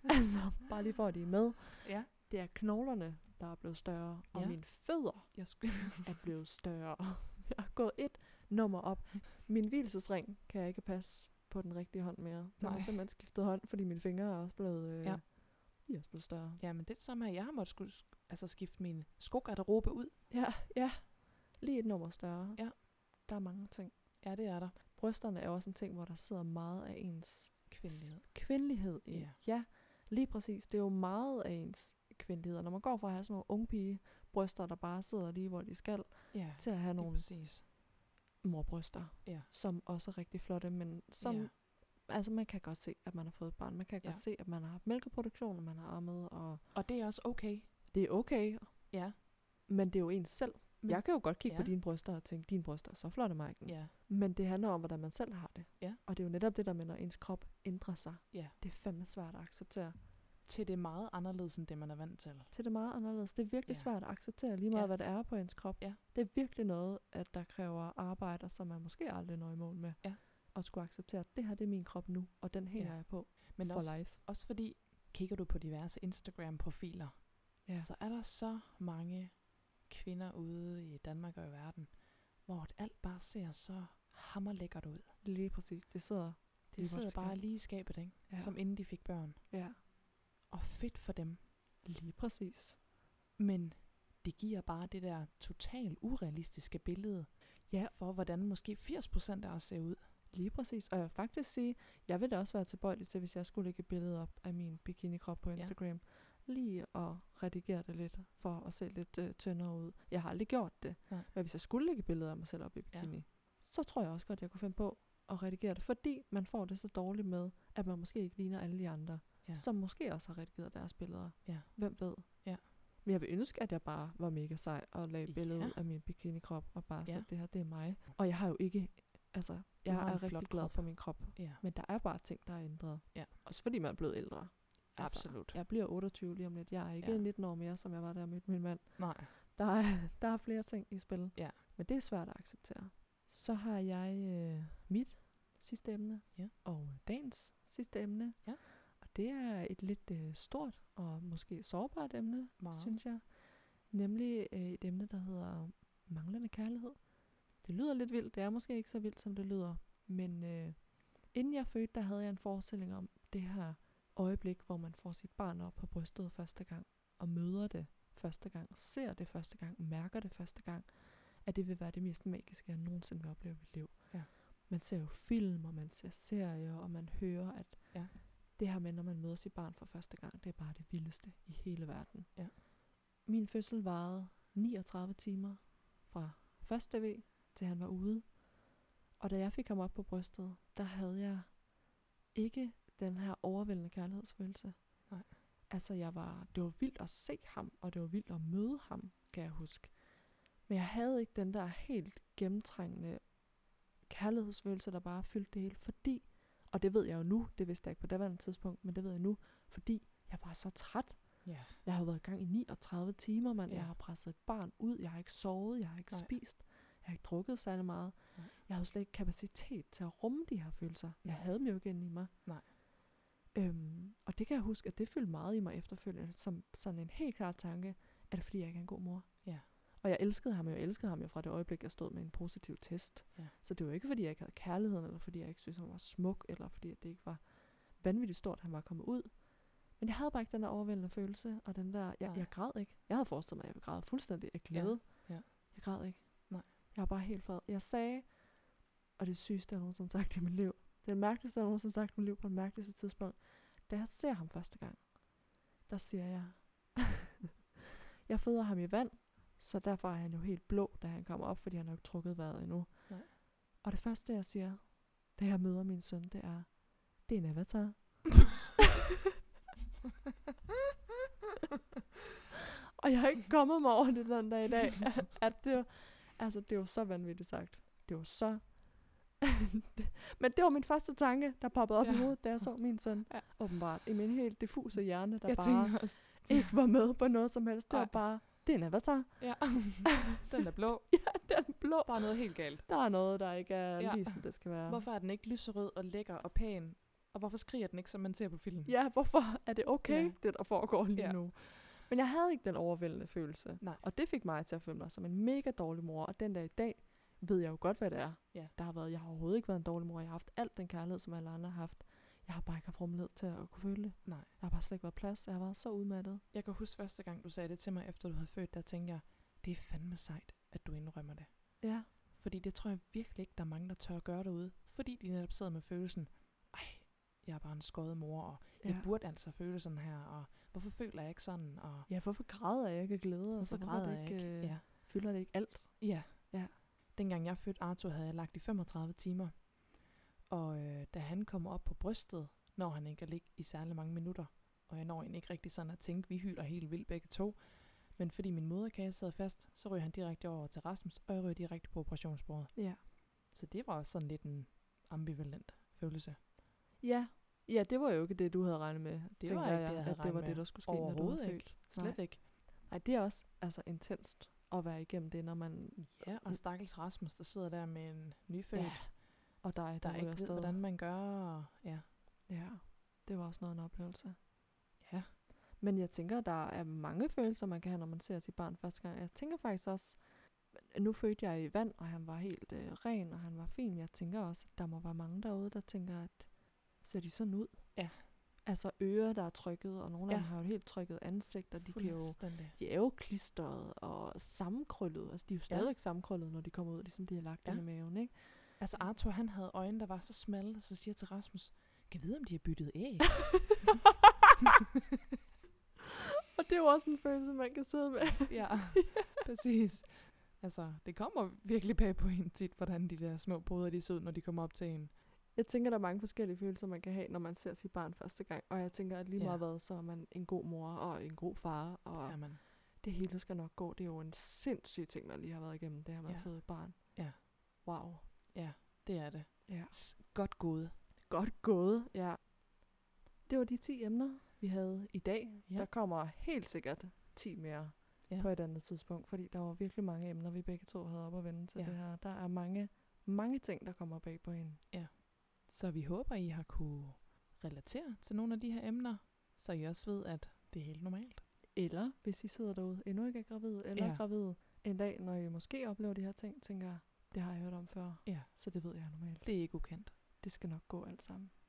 S1: Altså, bare lige for at de er med.
S2: ja.
S1: Det er knoglerne, der er blevet større, og
S2: Ja.
S1: mine fødder
S2: Jeg skulle...
S1: er blevet større. Jeg har gået et nummer op. Min hvilesesring kan jeg ikke passe på den rigtige hånd mere. Den har
S2: Nej.
S1: simpelthen skiftet hånd, fordi mine fingre er også blevet, øh,
S2: Ja.
S1: de er også blevet større.
S2: ja, men det er det samme her. Jeg har måttet skulle, altså, skifte min skogarderobe ud.
S1: Ja, ja. Lige et nummer større.
S2: Ja.
S1: Der er mange ting.
S2: Ja, det er der.
S1: Brysterne er også en ting, hvor der sidder meget af ens
S2: Kvindelighed.
S1: kvindelighed i.
S2: Ja.
S1: ja, lige præcis. Det er jo meget af ens kvindelighed. Og når man går fra at have sådan nogle unge pige bryster, der bare sidder lige, hvor de skal,
S2: Ja,
S1: til at have
S2: lige
S1: nogle
S2: præcis.
S1: morbryster,
S2: Ja.
S1: som også er rigtig flotte, men som
S2: Ja.
S1: Altså, man kan godt se, at man har fået et barn. Man kan
S2: Ja.
S1: godt se, at man har haft mælkeproduktion, og man har ammet, og
S2: Og det er også okay.
S1: det er okay,
S2: Ja.
S1: men det er jo ens selv. Men,
S2: Men-
S1: jeg kan jo godt kigge ja. på
S2: Ja.
S1: dine bryster og tænke, dine bryster er så flotte, Maiken.
S2: Ja.
S1: Men det handler om, hvordan man selv har det.
S2: Ja.
S1: Og det er jo netop det der med, når ens krop ændrer sig.
S2: Ja.
S1: Det er fandme svært at acceptere.
S2: Til det er meget anderledes, end det man er vant til.
S1: Til det er meget anderledes. Det er virkelig ja.
S2: Ja.
S1: svært at acceptere lige meget, ja.
S2: Ja.
S1: hvad det er på ens krop.
S2: Ja.
S1: Det er virkelig noget, at der kræver arbejde, og som man måske aldrig når i mål med.
S2: Ja.
S1: Og skulle acceptere, at det her det er min krop nu, og den hænger
S2: Ja.
S1: jeg på
S2: Men
S1: for
S2: også,
S1: life.
S2: også fordi, kigger du på diverse Instagram-profiler,
S1: Ja.
S2: ja. så er der så mange kvinder ude i Danmark og i verden, hvor at alt bare ser så hammerlækkert ud.
S1: Lige præcis. Det sidder.
S2: Det sidder
S1: vores
S2: bare
S1: skab.
S2: lige i skabet, ikke?
S1: Ja.
S2: Ja. som inden de fik børn.
S1: Ja.
S2: Og fedt for dem.
S1: Lige præcis.
S2: Men det giver bare det der totalt urealistiske billede
S1: Ja.
S2: for, hvordan måske 80% af os ser ud.
S1: Lige præcis. Og jeg vil faktisk sige, jeg ville også være tilbøjelig til, hvis jeg skulle lægge et billede op af min bikinikrop på Instagram. Ja. Lige at redigere det lidt, for at se lidt øh, tyndere ud. Jeg har aldrig gjort det.
S2: Nej.
S1: Men hvis jeg skulle lægge billeder af mig selv op i
S2: Ja.
S1: bikini, ja. så tror jeg også godt, jeg kunne finde på at redigere det. Fordi man får det så dårligt med, at man måske ikke ligner alle de andre.
S2: Ja.
S1: som måske også har redigeret deres billeder.
S2: Ja.
S1: Hvem ved?
S2: Ja.
S1: Men jeg vil ønske, at jeg bare var mega sej og lagde et billede
S2: Ja.
S1: ja. af min bikinikrop og bare ja.
S2: Ja.
S1: så det her, det er mig. Og jeg har jo ikke, altså, jeg
S2: har en
S1: er rigtig
S2: flot
S1: glad
S2: krop.
S1: for min krop.
S2: Ja,
S1: Men der er bare ting, der er ændret.
S2: Ja.
S1: Også fordi man er blevet ældre. Altså,
S2: absolut.
S1: Jeg bliver 28 lige om lidt. Jeg er ikke
S2: Ja.
S1: ja. 19 år mere, som jeg var, da jeg mødte min mand.
S2: Nej.
S1: Der er, der er flere ting i spil.
S2: Ja.
S1: Men det er svært at acceptere. Så har jeg øh, mit sidste emne.
S2: Ja.
S1: Og dagens sidste emne.
S2: Ja.
S1: Og det er et lidt øh, stort og måske sårbart emne,
S2: Meget.
S1: synes jeg. Nemlig øh, et emne, der hedder manglende kærlighed. Det lyder lidt vildt. Det er måske ikke så vildt, som det lyder. Men øh, inden jeg fødte, der havde jeg en forestilling om det her øjeblik, hvor man får sit barn op på brystet første gang og møder det første gang, ser det første gang, mærker det første gang, at det vil være det mest magiske, jeg nogensinde vil opleve i mit liv.
S2: Ja.
S1: Man ser jo film, og man ser serier, og man hører, at
S2: Ja.
S1: det her med, når man møder sit barn for første gang, det er bare det vildeste i hele verden.
S2: Ja.
S1: Min fødsel varede 39 timer fra første V til han var ude. Og da jeg fik ham op på brystet, der havde jeg ikke den her overvældende kærlighedsfølelse.
S2: Nej.
S1: Altså, jeg var, det var vildt at se ham, og det var vildt at møde ham, kan jeg huske. Men jeg havde ikke den der helt gennemtrængende kærlighedsfølelse, der bare fyldte det hele, fordi, og det ved jeg jo nu, det vidste jeg ikke på daværende tidspunkt, men det ved jeg nu, fordi jeg var så træt.
S2: Ja.
S1: Jeg har jo været i gang i 39 timer, mand.
S2: Ja.
S1: Ja. Jeg har presset et barn ud, jeg har ikke sovet, jeg har ikke
S2: Nej.
S1: Nej. spist, jeg har ikke drukket særlig meget.
S2: Nej.
S1: Jeg havde slet ikke kapacitet til at rumme de her følelser. Jeg
S2: Nej.
S1: havde dem jo ikke inde i mig.
S2: Nej.
S1: Øhm, og det kan jeg huske, at det fyldte meget i mig efterfølgende, som sådan en helt klar tanke, at det fordi, jeg ikke er en god mor.
S2: Ja.
S1: Og jeg elskede ham jo, jeg elskede ham jo fra det øjeblik, jeg stod med en positiv test.
S2: Ja.
S1: Så det var ikke, fordi jeg ikke havde kærligheden, eller fordi jeg ikke synes, han var smuk, eller fordi at det ikke var vanvittigt stort, han var kommet ud. Men jeg havde bare ikke den der overvældende følelse, og den der, jeg,
S2: Nej.
S1: jeg græd ikke. Jeg havde forestillet mig, at jeg ville græde fuldstændig af glæde.
S2: ja.
S1: Jeg græd ikke.
S2: Nej.
S1: Jeg var bare helt fred. Jeg sagde, og det sygeste, jeg nogensinde har sagt i mit liv, det er det mærkeligste, jeg nogensinde har sagt i mit liv på det mærkeligste tidspunkt, da jeg ser ham første gang, der siger jeg, jeg føder ham i vand, så derfor er han jo helt blå, da han kommer op, fordi han har jo ikke trukket vejret endnu.
S2: Nej.
S1: Og det første, jeg siger, da jeg møder min søn, det er, det er en avatar. og jeg har ikke kommet mig over det den dag i dag, at- at det var, altså det var så vanvittigt sagt. Det var så... Men det var min første tanke, der poppede op
S2: Ja.
S1: ja. i hovedet, da jeg så min søn.
S2: Ja.
S1: Ja. Åbenbart. I min helt diffuse hjerne, der
S2: Jeg
S1: bare
S2: tænker også,
S1: ikke var med på noget som helst. Det
S2: Ej.
S1: var bare, det er en avatar.
S2: ja, den er blå.
S1: Den er blå.
S2: Der er noget helt galt.
S1: Der er noget, der ikke er
S2: Ja.
S1: ja. lige som det skal være.
S2: Hvorfor er den ikke lyserød og lækker og pæn? Og hvorfor skriger den ikke, som man ser på filmen?
S1: Ja, hvorfor er det okay,
S2: Ja.
S1: ja. det der foregår lige
S2: Ja.
S1: ja. nu? Men jeg havde ikke den overvældende følelse.
S2: Nej.
S1: Og det fik mig til at føle mig som en mega dårlig mor. Og den dag i dag ved jeg jo godt, hvad det er.
S2: Ja.
S1: Der har været, jeg har overhovedet ikke været en dårlig mor. Jeg har haft alt den kærlighed, som alle andre har haft. Jeg har bare ikke haft rummelighed til at kunne føle det.
S2: Nej.
S1: Jeg har bare slet ikke været plads. Jeg har været så udmattet.
S2: Jeg kan huske første gang, du sagde det til mig, efter du havde født, der tænkte jeg, det er fandme sejt, at du indrømmer det.
S1: Ja.
S2: Fordi det tror jeg virkelig ikke, der er mange, der tør at gøre derude. Fordi de netop sidder med følelsen, ej, jeg er bare en skøjet mor, og ja. jeg
S1: Ja,
S2: burde altså føle sådan her, og hvorfor føler jeg ikke sådan, og
S1: ja hvorfor græder jeg ikke af glæde?
S2: hvorfor
S1: Altså,
S2: græder
S1: det
S2: jeg ikke?
S1: øh,
S2: Ja.
S1: Fylder det ikke alt?
S2: Ja.
S1: Ja.
S2: Dengang jeg fødte Arthur, havde jeg lagt i 35 timer. Og øh, da han kommer op på brystet, når han ikke at ligge i særlig mange minutter, og jeg når egentlig ikke rigtig sådan at tænke, vi hyler helt vildt begge to, men fordi min moderkage sad fast, så ryger han direkte over til Rasmus, og jeg ryger direkte på operationsbordet.
S1: Ja.
S2: Så det var også sådan lidt en ambivalent følelse.
S1: Ja. Ja, det var jo ikke det, du havde regnet med.
S2: Det
S1: tænker
S2: var ikke det,
S1: jeg,
S2: jeg havde
S1: at
S2: regnet
S1: det var
S2: med.
S1: det, der skulle ske, når du var
S2: Overhovedet
S1: født.
S2: ikke. Slet
S1: Nej.
S2: ikke.
S1: Ej, det er også altså intenst at være igennem det, når man...
S2: Ja, og stakkels Rasmus, der sidder der med en nyfødt, Mm. ja,
S1: Ja, og dig,
S2: der
S1: der,
S2: ikke
S1: ryger
S2: ved,
S1: afsted.
S2: hvordan man gør. Og, ja.
S1: Ja, det var også noget af en oplevelse.
S2: ja,
S1: Men jeg tænker, der er mange følelser, man kan have, når man ser sit barn første gang. Jeg tænker faktisk også, nu fødte jeg i vand, og han var helt øh, ren, og han var fin. Jeg tænker også, at der må være mange derude, der tænker, at ser de sådan ud?
S2: Ja.
S1: Altså ører, der er trykket, og nogle
S2: Ja.
S1: af dem har jo et helt trykket ansigt, og de kan jo...
S2: fuldstændig.
S1: De er jo klistret og sammenkrøllet. Altså, de er jo
S2: Ja.
S1: stadigvæk ja. sammenkrøllet, når de kommer ud, ligesom de har lagt
S2: Ja.
S1: ja. i maven, ikke?
S2: Altså Arthur, han havde øjne, der var så smalle, så siger jeg til Rasmus, kan vide, om de har byttet æg?
S1: Og det er jo også en følelse, man kan sidde med.
S2: ja, præcis. Altså, det kommer virkelig bag på en tit, hvordan de der små brødre, de ser ud, når de kommer op til en.
S1: Jeg tænker, der er mange forskellige følelser, man kan have, når man ser sit barn første gang. Og jeg tænker, at lige
S2: Ja.
S1: meget hvad, så er man en god mor og en god far. Og
S2: Ja, man.
S1: det hele skal nok gå. Det er jo en sindssyg ting, der lige har været igennem, det her med
S2: Ja.
S1: at føde et barn.
S2: Ja.
S1: Wow.
S2: Det er det.
S1: Ja.
S2: S- godt gået.
S1: Godt gået, ja. Det var de 10 emner, vi havde i dag.
S2: Ja.
S1: Der kommer helt sikkert 10 mere
S2: Ja.
S1: ja. på et andet tidspunkt, fordi der var virkelig mange emner, vi begge to havde op at vende til
S2: Ja.
S1: ja. det her. Der er mange, mange ting, der kommer bag på en.
S2: Så vi håber, I har kunne relatere til nogle af de her emner, så I også ved, at det er helt normalt.
S1: Eller hvis I sidder derude, endnu ikke er gravid, eller
S2: Ja.
S1: ja. gravid en dag, når I måske oplever de her ting, tænker jeg, det har jeg hørt om før,
S2: Ja.
S1: så det ved jeg er normalt.
S2: Det er ikke ukendt.
S1: Det skal nok gå alt sammen.